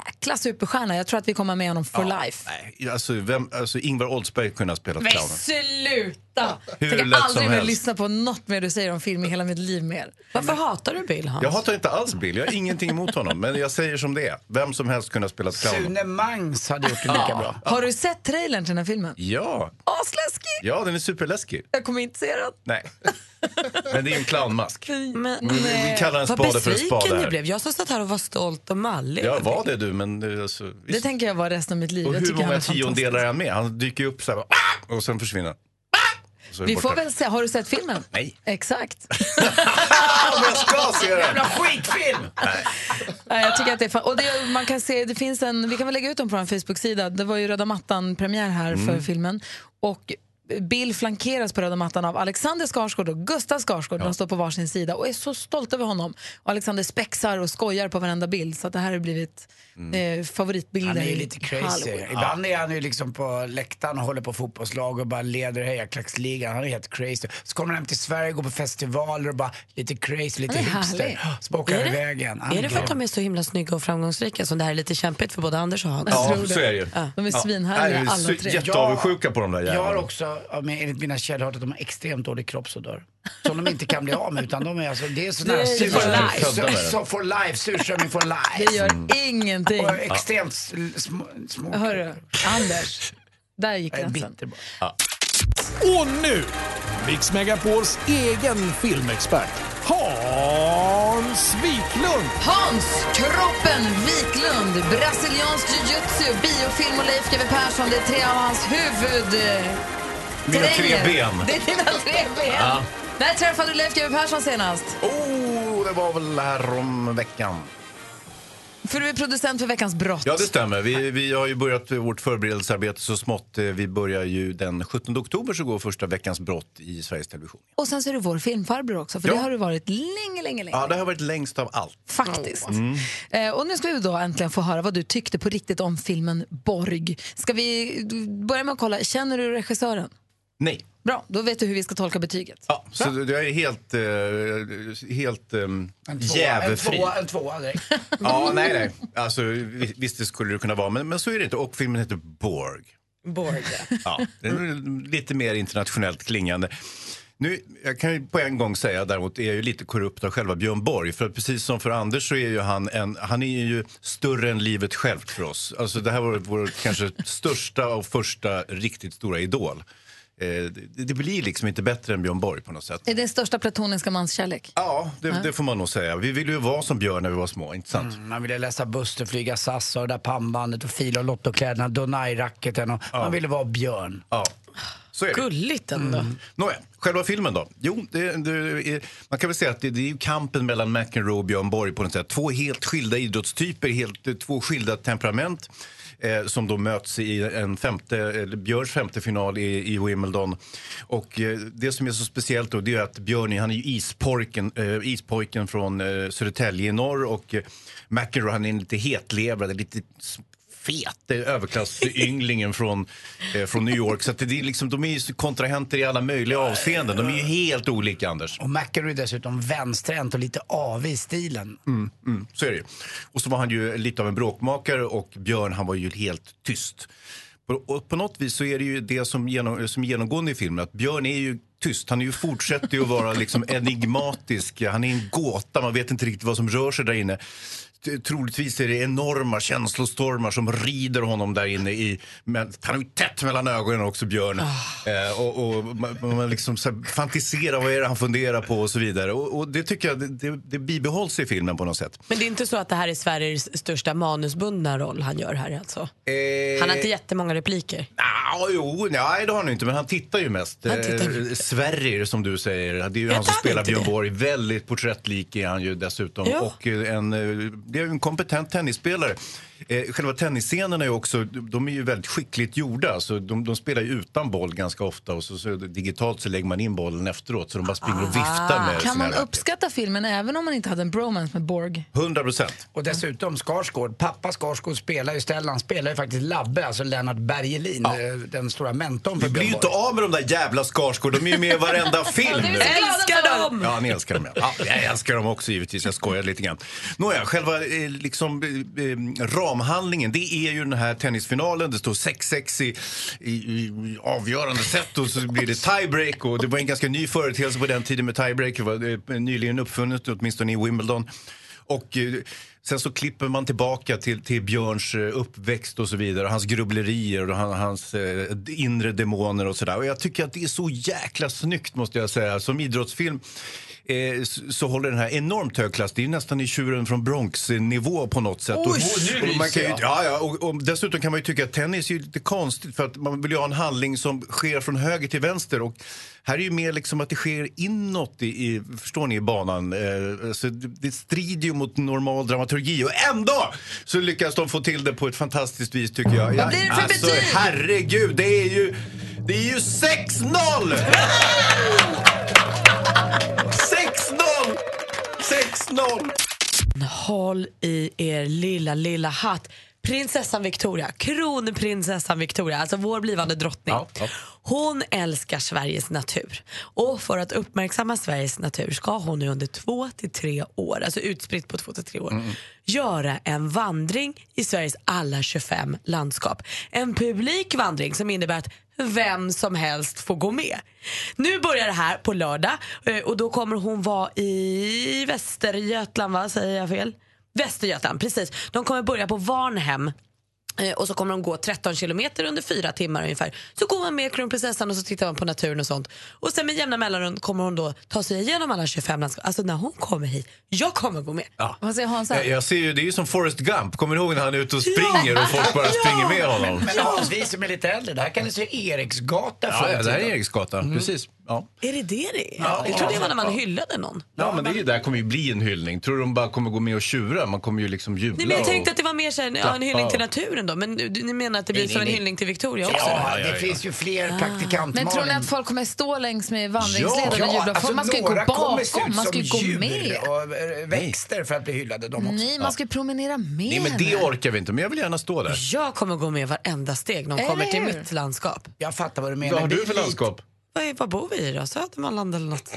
[SPEAKER 2] jäkla superstjärna. Jag tror att vi kommer med honom for
[SPEAKER 17] Ja,
[SPEAKER 2] life.
[SPEAKER 17] Nej, alltså, vem, alltså, Ingvar Oldsberg kunde ha spelat
[SPEAKER 2] Men
[SPEAKER 17] clownen.
[SPEAKER 2] sluta!
[SPEAKER 17] Hur
[SPEAKER 2] Tänker
[SPEAKER 17] lätt som
[SPEAKER 2] aldrig mer
[SPEAKER 17] helst.
[SPEAKER 2] lyssna på något mer du säger om film i hela mitt liv mer.
[SPEAKER 3] Varför hatar du Bill Hans?
[SPEAKER 17] Jag hatar inte alls Bill, jag har ingenting emot honom. Men jag säger som det är, vem som helst kunde ha spelat clownen.
[SPEAKER 4] Sune Mangs hade gjort det lika
[SPEAKER 17] Ja.
[SPEAKER 4] bra.
[SPEAKER 2] Har du sett trailern till den här filmen?
[SPEAKER 17] Ja,
[SPEAKER 2] Asläskig!
[SPEAKER 17] ja den är superläskig.
[SPEAKER 2] Jag kommer inte se den.
[SPEAKER 17] Nej. Men det är ju en clownmask.
[SPEAKER 3] Men,
[SPEAKER 17] Vi- vi
[SPEAKER 3] nej.
[SPEAKER 17] kallar en
[SPEAKER 3] Vad
[SPEAKER 17] Mm, spade för en spade
[SPEAKER 3] besviken
[SPEAKER 17] här.
[SPEAKER 3] du blev. Jag som satt här och var stolt och mallig.
[SPEAKER 17] Ja, var det du, men eh, alltså, visst.
[SPEAKER 2] Det tänker jag vara resten av mitt liv.
[SPEAKER 17] Och
[SPEAKER 2] jag
[SPEAKER 17] hur
[SPEAKER 2] tycker han
[SPEAKER 17] många
[SPEAKER 2] är fantastisk.
[SPEAKER 17] tiondelar är han med? Han dyker ju upp så här, bara, "Ah!" och sen försvinner han. Och så är det
[SPEAKER 2] Vi får
[SPEAKER 17] borta.
[SPEAKER 2] väl se. Har du sett filmen? Nej. Exakt.
[SPEAKER 17] Ah, men jag ska se den!
[SPEAKER 4] Jävla skitfilm!
[SPEAKER 2] Nej, jag tycker att det är fan. Och det, man kan se, det finns en, vi kan väl lägga ut dem på vår Facebook-sida. Det var ju röda mattan-premiär här
[SPEAKER 18] Mm.
[SPEAKER 2] för filmen. Och Bill flankeras på röda mattan av Alexander Skarsgård och Gustav Skarsgård. De står på varsin sida och är så stolta över honom. Och Alexander spexar och skojar på varenda bild. Så att det här har blivit
[SPEAKER 17] Mm.
[SPEAKER 2] eh, favoritbilden.
[SPEAKER 4] Han är ju
[SPEAKER 2] i
[SPEAKER 4] lite crazy.
[SPEAKER 2] Halloween.
[SPEAKER 4] Ibland är han ju liksom på läktaren och håller på fotbollslag och bara leder hejarklacksligan. Han är helt crazy. Så kommer han hem till Sverige, går på festivaler och bara lite crazy, lite
[SPEAKER 3] Han är
[SPEAKER 4] hipster.
[SPEAKER 3] härlig.
[SPEAKER 4] Så bara åker han
[SPEAKER 3] Är det-
[SPEAKER 4] iväg igen. Han
[SPEAKER 3] Är det för
[SPEAKER 4] grym.
[SPEAKER 3] att de är så himla snygga och framgångsrika som det här är lite kämpigt för både Anders och Hans?
[SPEAKER 17] Ja, Jag tror så det. är det ju.
[SPEAKER 3] Ja.
[SPEAKER 2] De är
[SPEAKER 17] Nej, vi är så Jätteavundsjuka på de där
[SPEAKER 4] Jag har
[SPEAKER 17] jävlarna.
[SPEAKER 4] också, ja, men enligt mina källor, hört att de har extremt dålig kroppsodör. Som de inte kan bli av med utan de är alltså, det är
[SPEAKER 2] Det
[SPEAKER 4] sådana
[SPEAKER 2] är
[SPEAKER 4] här
[SPEAKER 2] ju
[SPEAKER 4] surströmming-
[SPEAKER 2] for life.
[SPEAKER 4] sur- så for life, surströmming for life.
[SPEAKER 2] Det
[SPEAKER 17] Mm.
[SPEAKER 2] gör ingenting.
[SPEAKER 4] Och extremt sl- små, små
[SPEAKER 2] Hörru, Anders. Där gick
[SPEAKER 4] Jag är
[SPEAKER 2] gränsen.
[SPEAKER 19] Och nu, Mix Megapols egen filmexpert, Hans Wiklund.
[SPEAKER 2] Hans Kroppen Wiklund, brasiliansk jujutsu, biofilm och Leif GW Persson. Det är tre av hans huvud... eh,
[SPEAKER 17] Mina tre
[SPEAKER 2] terränger.
[SPEAKER 17] ben.
[SPEAKER 2] Det är dina tre ben.
[SPEAKER 17] Ja.
[SPEAKER 2] När träffade du Leif GW Persson senast?
[SPEAKER 17] Oh, det var väl härom veckan.
[SPEAKER 2] För du är producent för Veckans brott.
[SPEAKER 17] Ja, det stämmer. Vi, vi har ju börjat vårt förberedelsearbete så smått. Eh, Vi börjar ju den 17 oktober så går första veckans brott i Sveriges Television.
[SPEAKER 2] Och sen så är du vår filmfarbror också, för
[SPEAKER 17] Ja.
[SPEAKER 2] det har du varit länge, länge, länge.
[SPEAKER 17] Ja, det har varit längst av allt.
[SPEAKER 2] Faktiskt.
[SPEAKER 17] Mm.
[SPEAKER 2] Eh, och nu ska vi då äntligen få höra vad du tyckte på riktigt om filmen Borg. Ska vi du, börja med att kolla, känner du regissören?
[SPEAKER 17] Nej.
[SPEAKER 2] Bra, då vet du hur vi ska tolka betyget.
[SPEAKER 17] Ja, så det- jag är helt, eh, helt um,
[SPEAKER 4] En
[SPEAKER 17] jävefri.
[SPEAKER 4] tvåa, en tvåa direkt.
[SPEAKER 17] Ja, nej, nej. Alltså, vi- visst, det skulle det kunna vara, men, men så är det inte. Och filmen heter Borg.
[SPEAKER 3] Borg.
[SPEAKER 17] Ja, den är lite mer internationellt klingande. Nu, jag kan ju på en gång säga däremot, är jag ju lite korrupt av själva Björn Borg. För att precis som för Anders så är ju han, en, han är ju större än livet självt för oss. Alltså det här var vår kanske största och första riktigt stora idol. Eh, det, det blir liksom inte bättre än Björn Borg på något sätt.
[SPEAKER 2] Är det största platoniska manskärlek?
[SPEAKER 17] Ja, Det, det får man nog säga. Vi ville ju vara som Björn när vi var små, inte sant?
[SPEAKER 4] Man ville läsa Buster, flyga SAS och det där pannbandet och fila och lottokläderna, Donai-racketen och man ville vara Björn.
[SPEAKER 17] Ja. Så är det.
[SPEAKER 3] Gulligt ändå.
[SPEAKER 17] Nåja, själva filmen då? Jo, det, det är, man kan väl säga att det, det är ju kampen mellan McEnroe och Björn Borg på något sätt. Två helt skilda idrottstyper, helt, eh, två skilda temperament eh, som då möts i en femte, eller Björns femte final i, i Wimbledon. Och eh, det som är så speciellt då, det är att Björn, han är ju isporken, eh, ispojken från eh, Södertälje i norr och eh, McEnroe, han är en lite hetlevrad, lite s- fet eh, överklasssynglingen från, eh, från New York. Så att det är liksom, de är ju kontrahenter i alla möjliga avseenden. De är ju helt olika, Anders.
[SPEAKER 4] Och McEnroe är dessutom vänsterhänt och lite avig i stilen.
[SPEAKER 17] Mm, mm, så är det ju. Och så var han ju lite av en bråkmakare och Björn han var ju helt tyst. På- Och på något vis så är det ju det som, genom, som är genomgående i filmen att Björn är ju tyst. Han är ju fortsätter ju att vara liksom enigmatisk. Han är en gåta, man vet inte riktigt vad som rör sig där inne. T- Troligtvis är det enorma känslostormar som rider honom där inne. I, men han är ju tätt mellan ögonen också, Björn. Eh, och, och man, man liksom så här fantiserar, vad är det han funderar på och så vidare. Och, och det tycker jag, det, det, det bibehålls i filmen på något sätt.
[SPEAKER 3] Men det är inte så att det här är Sveriges största manusbundna roll han gör här alltså? Han har inte jättemånga repliker.
[SPEAKER 17] Ja, jo, nej det har han ju inte, men han tittar ju mest.
[SPEAKER 3] Han tittar
[SPEAKER 17] Eh,
[SPEAKER 3] mycket.
[SPEAKER 17] Sverrir som du säger, det är ju
[SPEAKER 3] Vet
[SPEAKER 17] han som
[SPEAKER 3] han
[SPEAKER 17] spelar
[SPEAKER 3] inte
[SPEAKER 17] Björn
[SPEAKER 3] det?
[SPEAKER 17] Borg. Väldigt porträttlik är han ju dessutom.
[SPEAKER 3] Ja.
[SPEAKER 17] Och eh, en, eh, det är ju en kompetent tennisspelare. Eh, Själva tennisscenerna är ju också, de är ju väldigt skickligt gjorda. Så de, de spelar ju utan boll ganska ofta och så, så digitalt så lägger man in bollen efteråt. Så de bara springer och viftar
[SPEAKER 4] Eh,
[SPEAKER 17] med
[SPEAKER 2] Ah, Kan
[SPEAKER 17] sina
[SPEAKER 2] man
[SPEAKER 17] racket.
[SPEAKER 2] uppskatta filmen även om man inte hade en bromance med Borg?
[SPEAKER 17] 100 procent.
[SPEAKER 4] Och dessutom Skarsgård, pappa Skarsgård spelar ju Stellan, spelar ju faktiskt Labbe, alltså Lennart Bergelin, eh, den stora mentorn för
[SPEAKER 17] Vi blir ju
[SPEAKER 4] Björn
[SPEAKER 17] inte
[SPEAKER 4] Borg.
[SPEAKER 17] av med de där jävla Skarsgård, de är ju med i varenda film.
[SPEAKER 4] Ja, det är vi så glada
[SPEAKER 3] Älskar dem!
[SPEAKER 17] Ja, ni älskar dem. Ja. Ja, jag älskar dem också givetvis, jag skojar lite grann. Nåja, själva eh, liksom, eh, eh, ramhandlingen, det är ju den här tennisfinalen. Det står 6-6 i, i, i avgörande set och så blir det tiebreak. Och det var en ganska ny företeelse på den tiden med tiebreak. Det var eh, nyligen uppfunnet, åtminstone i Wimbledon. Och... eh, Sen så klipper man tillbaka till, till Björns eh, uppväxt och så vidare. Hans grubblerier och han, hans eh, inre demoner och sådär. Och jag tycker att det är så jäkla snyggt måste jag säga. Som idrottsfilm eh, s- så håller den här enormt hög klass. Det är nästan i Tjuren från Bronx-nivå på något sätt.
[SPEAKER 4] Oj, nu
[SPEAKER 17] och, och man kan ju,
[SPEAKER 4] ryser jag.
[SPEAKER 17] ja, ja, och, och dessutom kan man ju tycka att tennis är ju lite konstigt för att man vill ju ha en handling som sker från höger till vänster. Och här är ju mer liksom att det sker inåt i, i, förstår ni, i banan. Eh, så det, det strider ju mot normal dramaturgi och ändå så lyckas de få till det på ett fantastiskt vis tycker jag.
[SPEAKER 20] Vad blir det för
[SPEAKER 17] alltså,
[SPEAKER 20] betyg?
[SPEAKER 17] herregud, det är ju, det är ju 6-0! 6-0! 6-0!
[SPEAKER 3] Håll i er lilla, lilla hatt. Prinsessan Victoria, kronprinsessan Victoria, alltså vår blivande drottning. Hon älskar Sveriges natur. Och för att uppmärksamma Sveriges natur ska hon nu under två till tre år, alltså utspritt på två till tre år, göra en vandring i Sveriges alla 25 landskap. En publik vandring som innebär att vem som helst får gå med. Nu börjar det här på lördag eh, och då kommer hon vara i Västergötland, va? säger jag fel? Västergötland, precis. De kommer börja på Varnhem Eh, Och så kommer de gå 13 kilometer under fyra timmar ungefär. Så går man med kronprinsessan och så tittar man på naturen och sånt. Och sen med jämna mellanrum kommer hon då ta sig igenom alla 25 landskap. Alltså när hon kommer hit, jag kommer gå med.
[SPEAKER 17] Ja.
[SPEAKER 2] Vad säger Hansa?
[SPEAKER 17] Jag, jag ser ju, det är ju som Forrest Gump. Kommer ni ihåg när han är ute och springer och folk bara springer med honom?
[SPEAKER 4] Men Hans, vi som är lite äldre, det här kallas ju Eriksgata
[SPEAKER 17] Ja,
[SPEAKER 4] förr i
[SPEAKER 17] ja, det här är
[SPEAKER 4] tiden.
[SPEAKER 17] Eriksgatan. Precis. Ja.
[SPEAKER 3] Är det det det är?
[SPEAKER 17] Ja.
[SPEAKER 3] jag trodde det var när man
[SPEAKER 17] Ja.
[SPEAKER 3] hyllade någon.
[SPEAKER 17] Ja, men det är ju- det här kommer ju bli en hyllning. Tror du de bara kommer gå med och tjura? Man kommer ju liksom jubla.
[SPEAKER 3] Nej, men jag
[SPEAKER 17] och-
[SPEAKER 3] tänkte att det var mer så här, ja, en
[SPEAKER 17] Klappa
[SPEAKER 3] hyllning till
[SPEAKER 17] och-
[SPEAKER 3] naturen då. Men du- ni menar att det blir
[SPEAKER 17] Nej,
[SPEAKER 3] som
[SPEAKER 17] nej,
[SPEAKER 3] en
[SPEAKER 17] nej.
[SPEAKER 3] hyllning till Victoria också?
[SPEAKER 4] Ja,
[SPEAKER 17] Ja, ja,
[SPEAKER 4] det
[SPEAKER 17] ja.
[SPEAKER 4] finns ju fler praktikant
[SPEAKER 2] Ah, Men tror ni
[SPEAKER 4] Malin.
[SPEAKER 2] att folk kommer stå längs med vandringsleden
[SPEAKER 4] Ja,
[SPEAKER 2] och jubla?
[SPEAKER 4] alltså,
[SPEAKER 2] man ska ju gå
[SPEAKER 4] några kommer se ut
[SPEAKER 2] bakom, man ska
[SPEAKER 4] som
[SPEAKER 2] ju gå
[SPEAKER 4] djur
[SPEAKER 2] med.
[SPEAKER 4] och eh, växter för att bli hyllade de också.
[SPEAKER 2] Nej, man ska ju promenera med.
[SPEAKER 17] Nej, men det orkar vi inte. Men jag vill gärna stå där.
[SPEAKER 3] Jag kommer gå med varenda steg när
[SPEAKER 2] Eller
[SPEAKER 3] hon kommer till
[SPEAKER 2] hur?
[SPEAKER 3] mitt landskap.
[SPEAKER 4] Jag fattar vad du menar.
[SPEAKER 17] Vad har
[SPEAKER 4] Det
[SPEAKER 17] du
[SPEAKER 4] är
[SPEAKER 17] för
[SPEAKER 4] lite-
[SPEAKER 17] landskap?
[SPEAKER 3] Vad, är, vad bor vi i då? Södermanland eller något?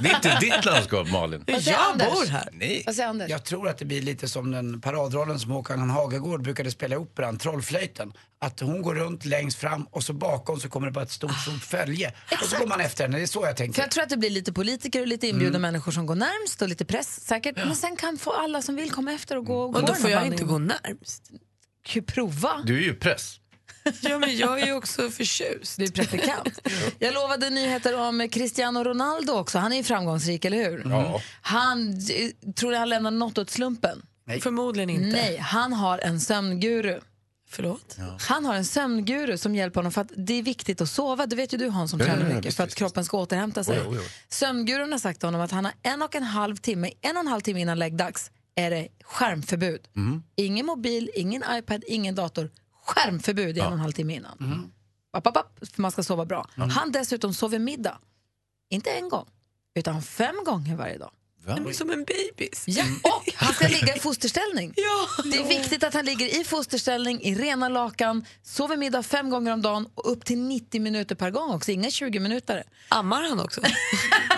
[SPEAKER 17] Det är inte ditt landskap, Malin.
[SPEAKER 3] Vad säger Jag Anders? bor här.
[SPEAKER 17] Nej.
[SPEAKER 2] Vad säger Anders?
[SPEAKER 4] Jag tror att det blir lite som den paradrollen som Håkan Hagegård brukade spela i operan, Trollflöjten. Att hon går runt längst fram och så bakom så kommer det bara ett stort, stort följe. Och så går man efter henne, det är så jag
[SPEAKER 2] För
[SPEAKER 4] tänker.
[SPEAKER 2] jag tror att det blir lite politiker och
[SPEAKER 4] Mm.
[SPEAKER 2] lite inbjudna människor som går närmst och lite press säkert. Men sen kan få alla som vill komma efter och gå
[SPEAKER 3] Och då får jag inte gå närmst.
[SPEAKER 2] Kan prova.
[SPEAKER 17] Du är ju press.
[SPEAKER 3] Ja, men jag är ju också förtjust.
[SPEAKER 2] Du är praktikant. Jag lovade nyheter om Cristiano Ronaldo också. Han är ju framgångsrik, eller hur?
[SPEAKER 3] Ja.
[SPEAKER 2] Han, eh, tror ni han lämnar något åt slumpen?
[SPEAKER 3] Förmodligen inte.
[SPEAKER 2] Nej, han har en sömnguru.
[SPEAKER 3] Förlåt?
[SPEAKER 2] Han har en sömnguru som hjälper honom för att det är viktigt att sova. Det vet ju du Hans som
[SPEAKER 3] Ja, ja,
[SPEAKER 2] tränar
[SPEAKER 3] ja,
[SPEAKER 2] mycket
[SPEAKER 3] visst,
[SPEAKER 2] för att kroppen ska återhämta sig.
[SPEAKER 3] Oj, oj, oj.
[SPEAKER 2] Sömngurun har sagt till honom att han har en och en halv timme, en och en halv timme innan läggdags är det skärmförbud.
[SPEAKER 3] Mm.
[SPEAKER 2] Ingen mobil, ingen iPad, ingen dator. Skärmförbud i en och en halv timme innan. App, app, app, för man ska sova bra.
[SPEAKER 3] Mm.
[SPEAKER 2] Han dessutom sover middag. Inte en gång, utan fem gånger varje dag.
[SPEAKER 3] Nej, men Som en bebis.
[SPEAKER 2] Ja,
[SPEAKER 17] Mm.
[SPEAKER 2] och han ska ligga i fosterställning.
[SPEAKER 3] Ja,
[SPEAKER 2] det är viktigt att han ligger i fosterställning, i rena lakan, sover middag fem gånger om dagen och upp till 90 minuter per gång också, inga 20 minuter.
[SPEAKER 3] Ammar han också?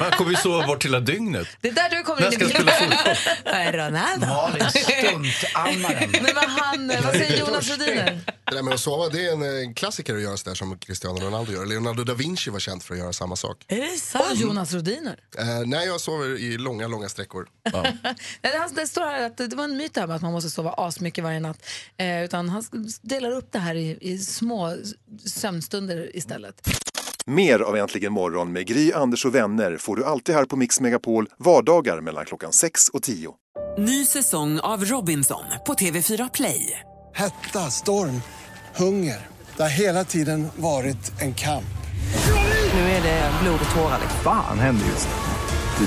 [SPEAKER 17] Man kommer ju sova bort hela dygnet.
[SPEAKER 2] Det är där du kommer
[SPEAKER 17] När
[SPEAKER 2] in i
[SPEAKER 17] ska jag
[SPEAKER 2] bilden.
[SPEAKER 17] spela fotboll?
[SPEAKER 3] Vad är Ronaldo?
[SPEAKER 4] Malin, stuntammaren.
[SPEAKER 2] Men vad, han, vad säger Jonas Rhodiner?
[SPEAKER 21] Det där med att sova, det är en eh, klassiker att göra sådär som Cristiano Ronaldo gör. Leonardo da Vinci var känd för att göra samma sak.
[SPEAKER 3] Är det sant? Och Jonas Rodiner.
[SPEAKER 21] Eh, nej, jag sover i långa, långa sträckor.
[SPEAKER 3] Nej, det, han- det står här att det var en myt det här med att man måste sova asmycket varje natt. Eh, utan han s- delar upp det här i, i små s- sömnstunder istället.
[SPEAKER 17] Mer av Äntligen morgon med Gry, Anders och vänner får du alltid här på Mix Megapol vardagar mellan klockan 6 och 10.
[SPEAKER 12] Ny säsong av Robinson på TV4 Play.
[SPEAKER 10] Hetta, storm, hunger. Det har hela tiden varit en kamp.
[SPEAKER 12] Nu är det blod och tårar. liksom.
[SPEAKER 4] Fan händer just nu.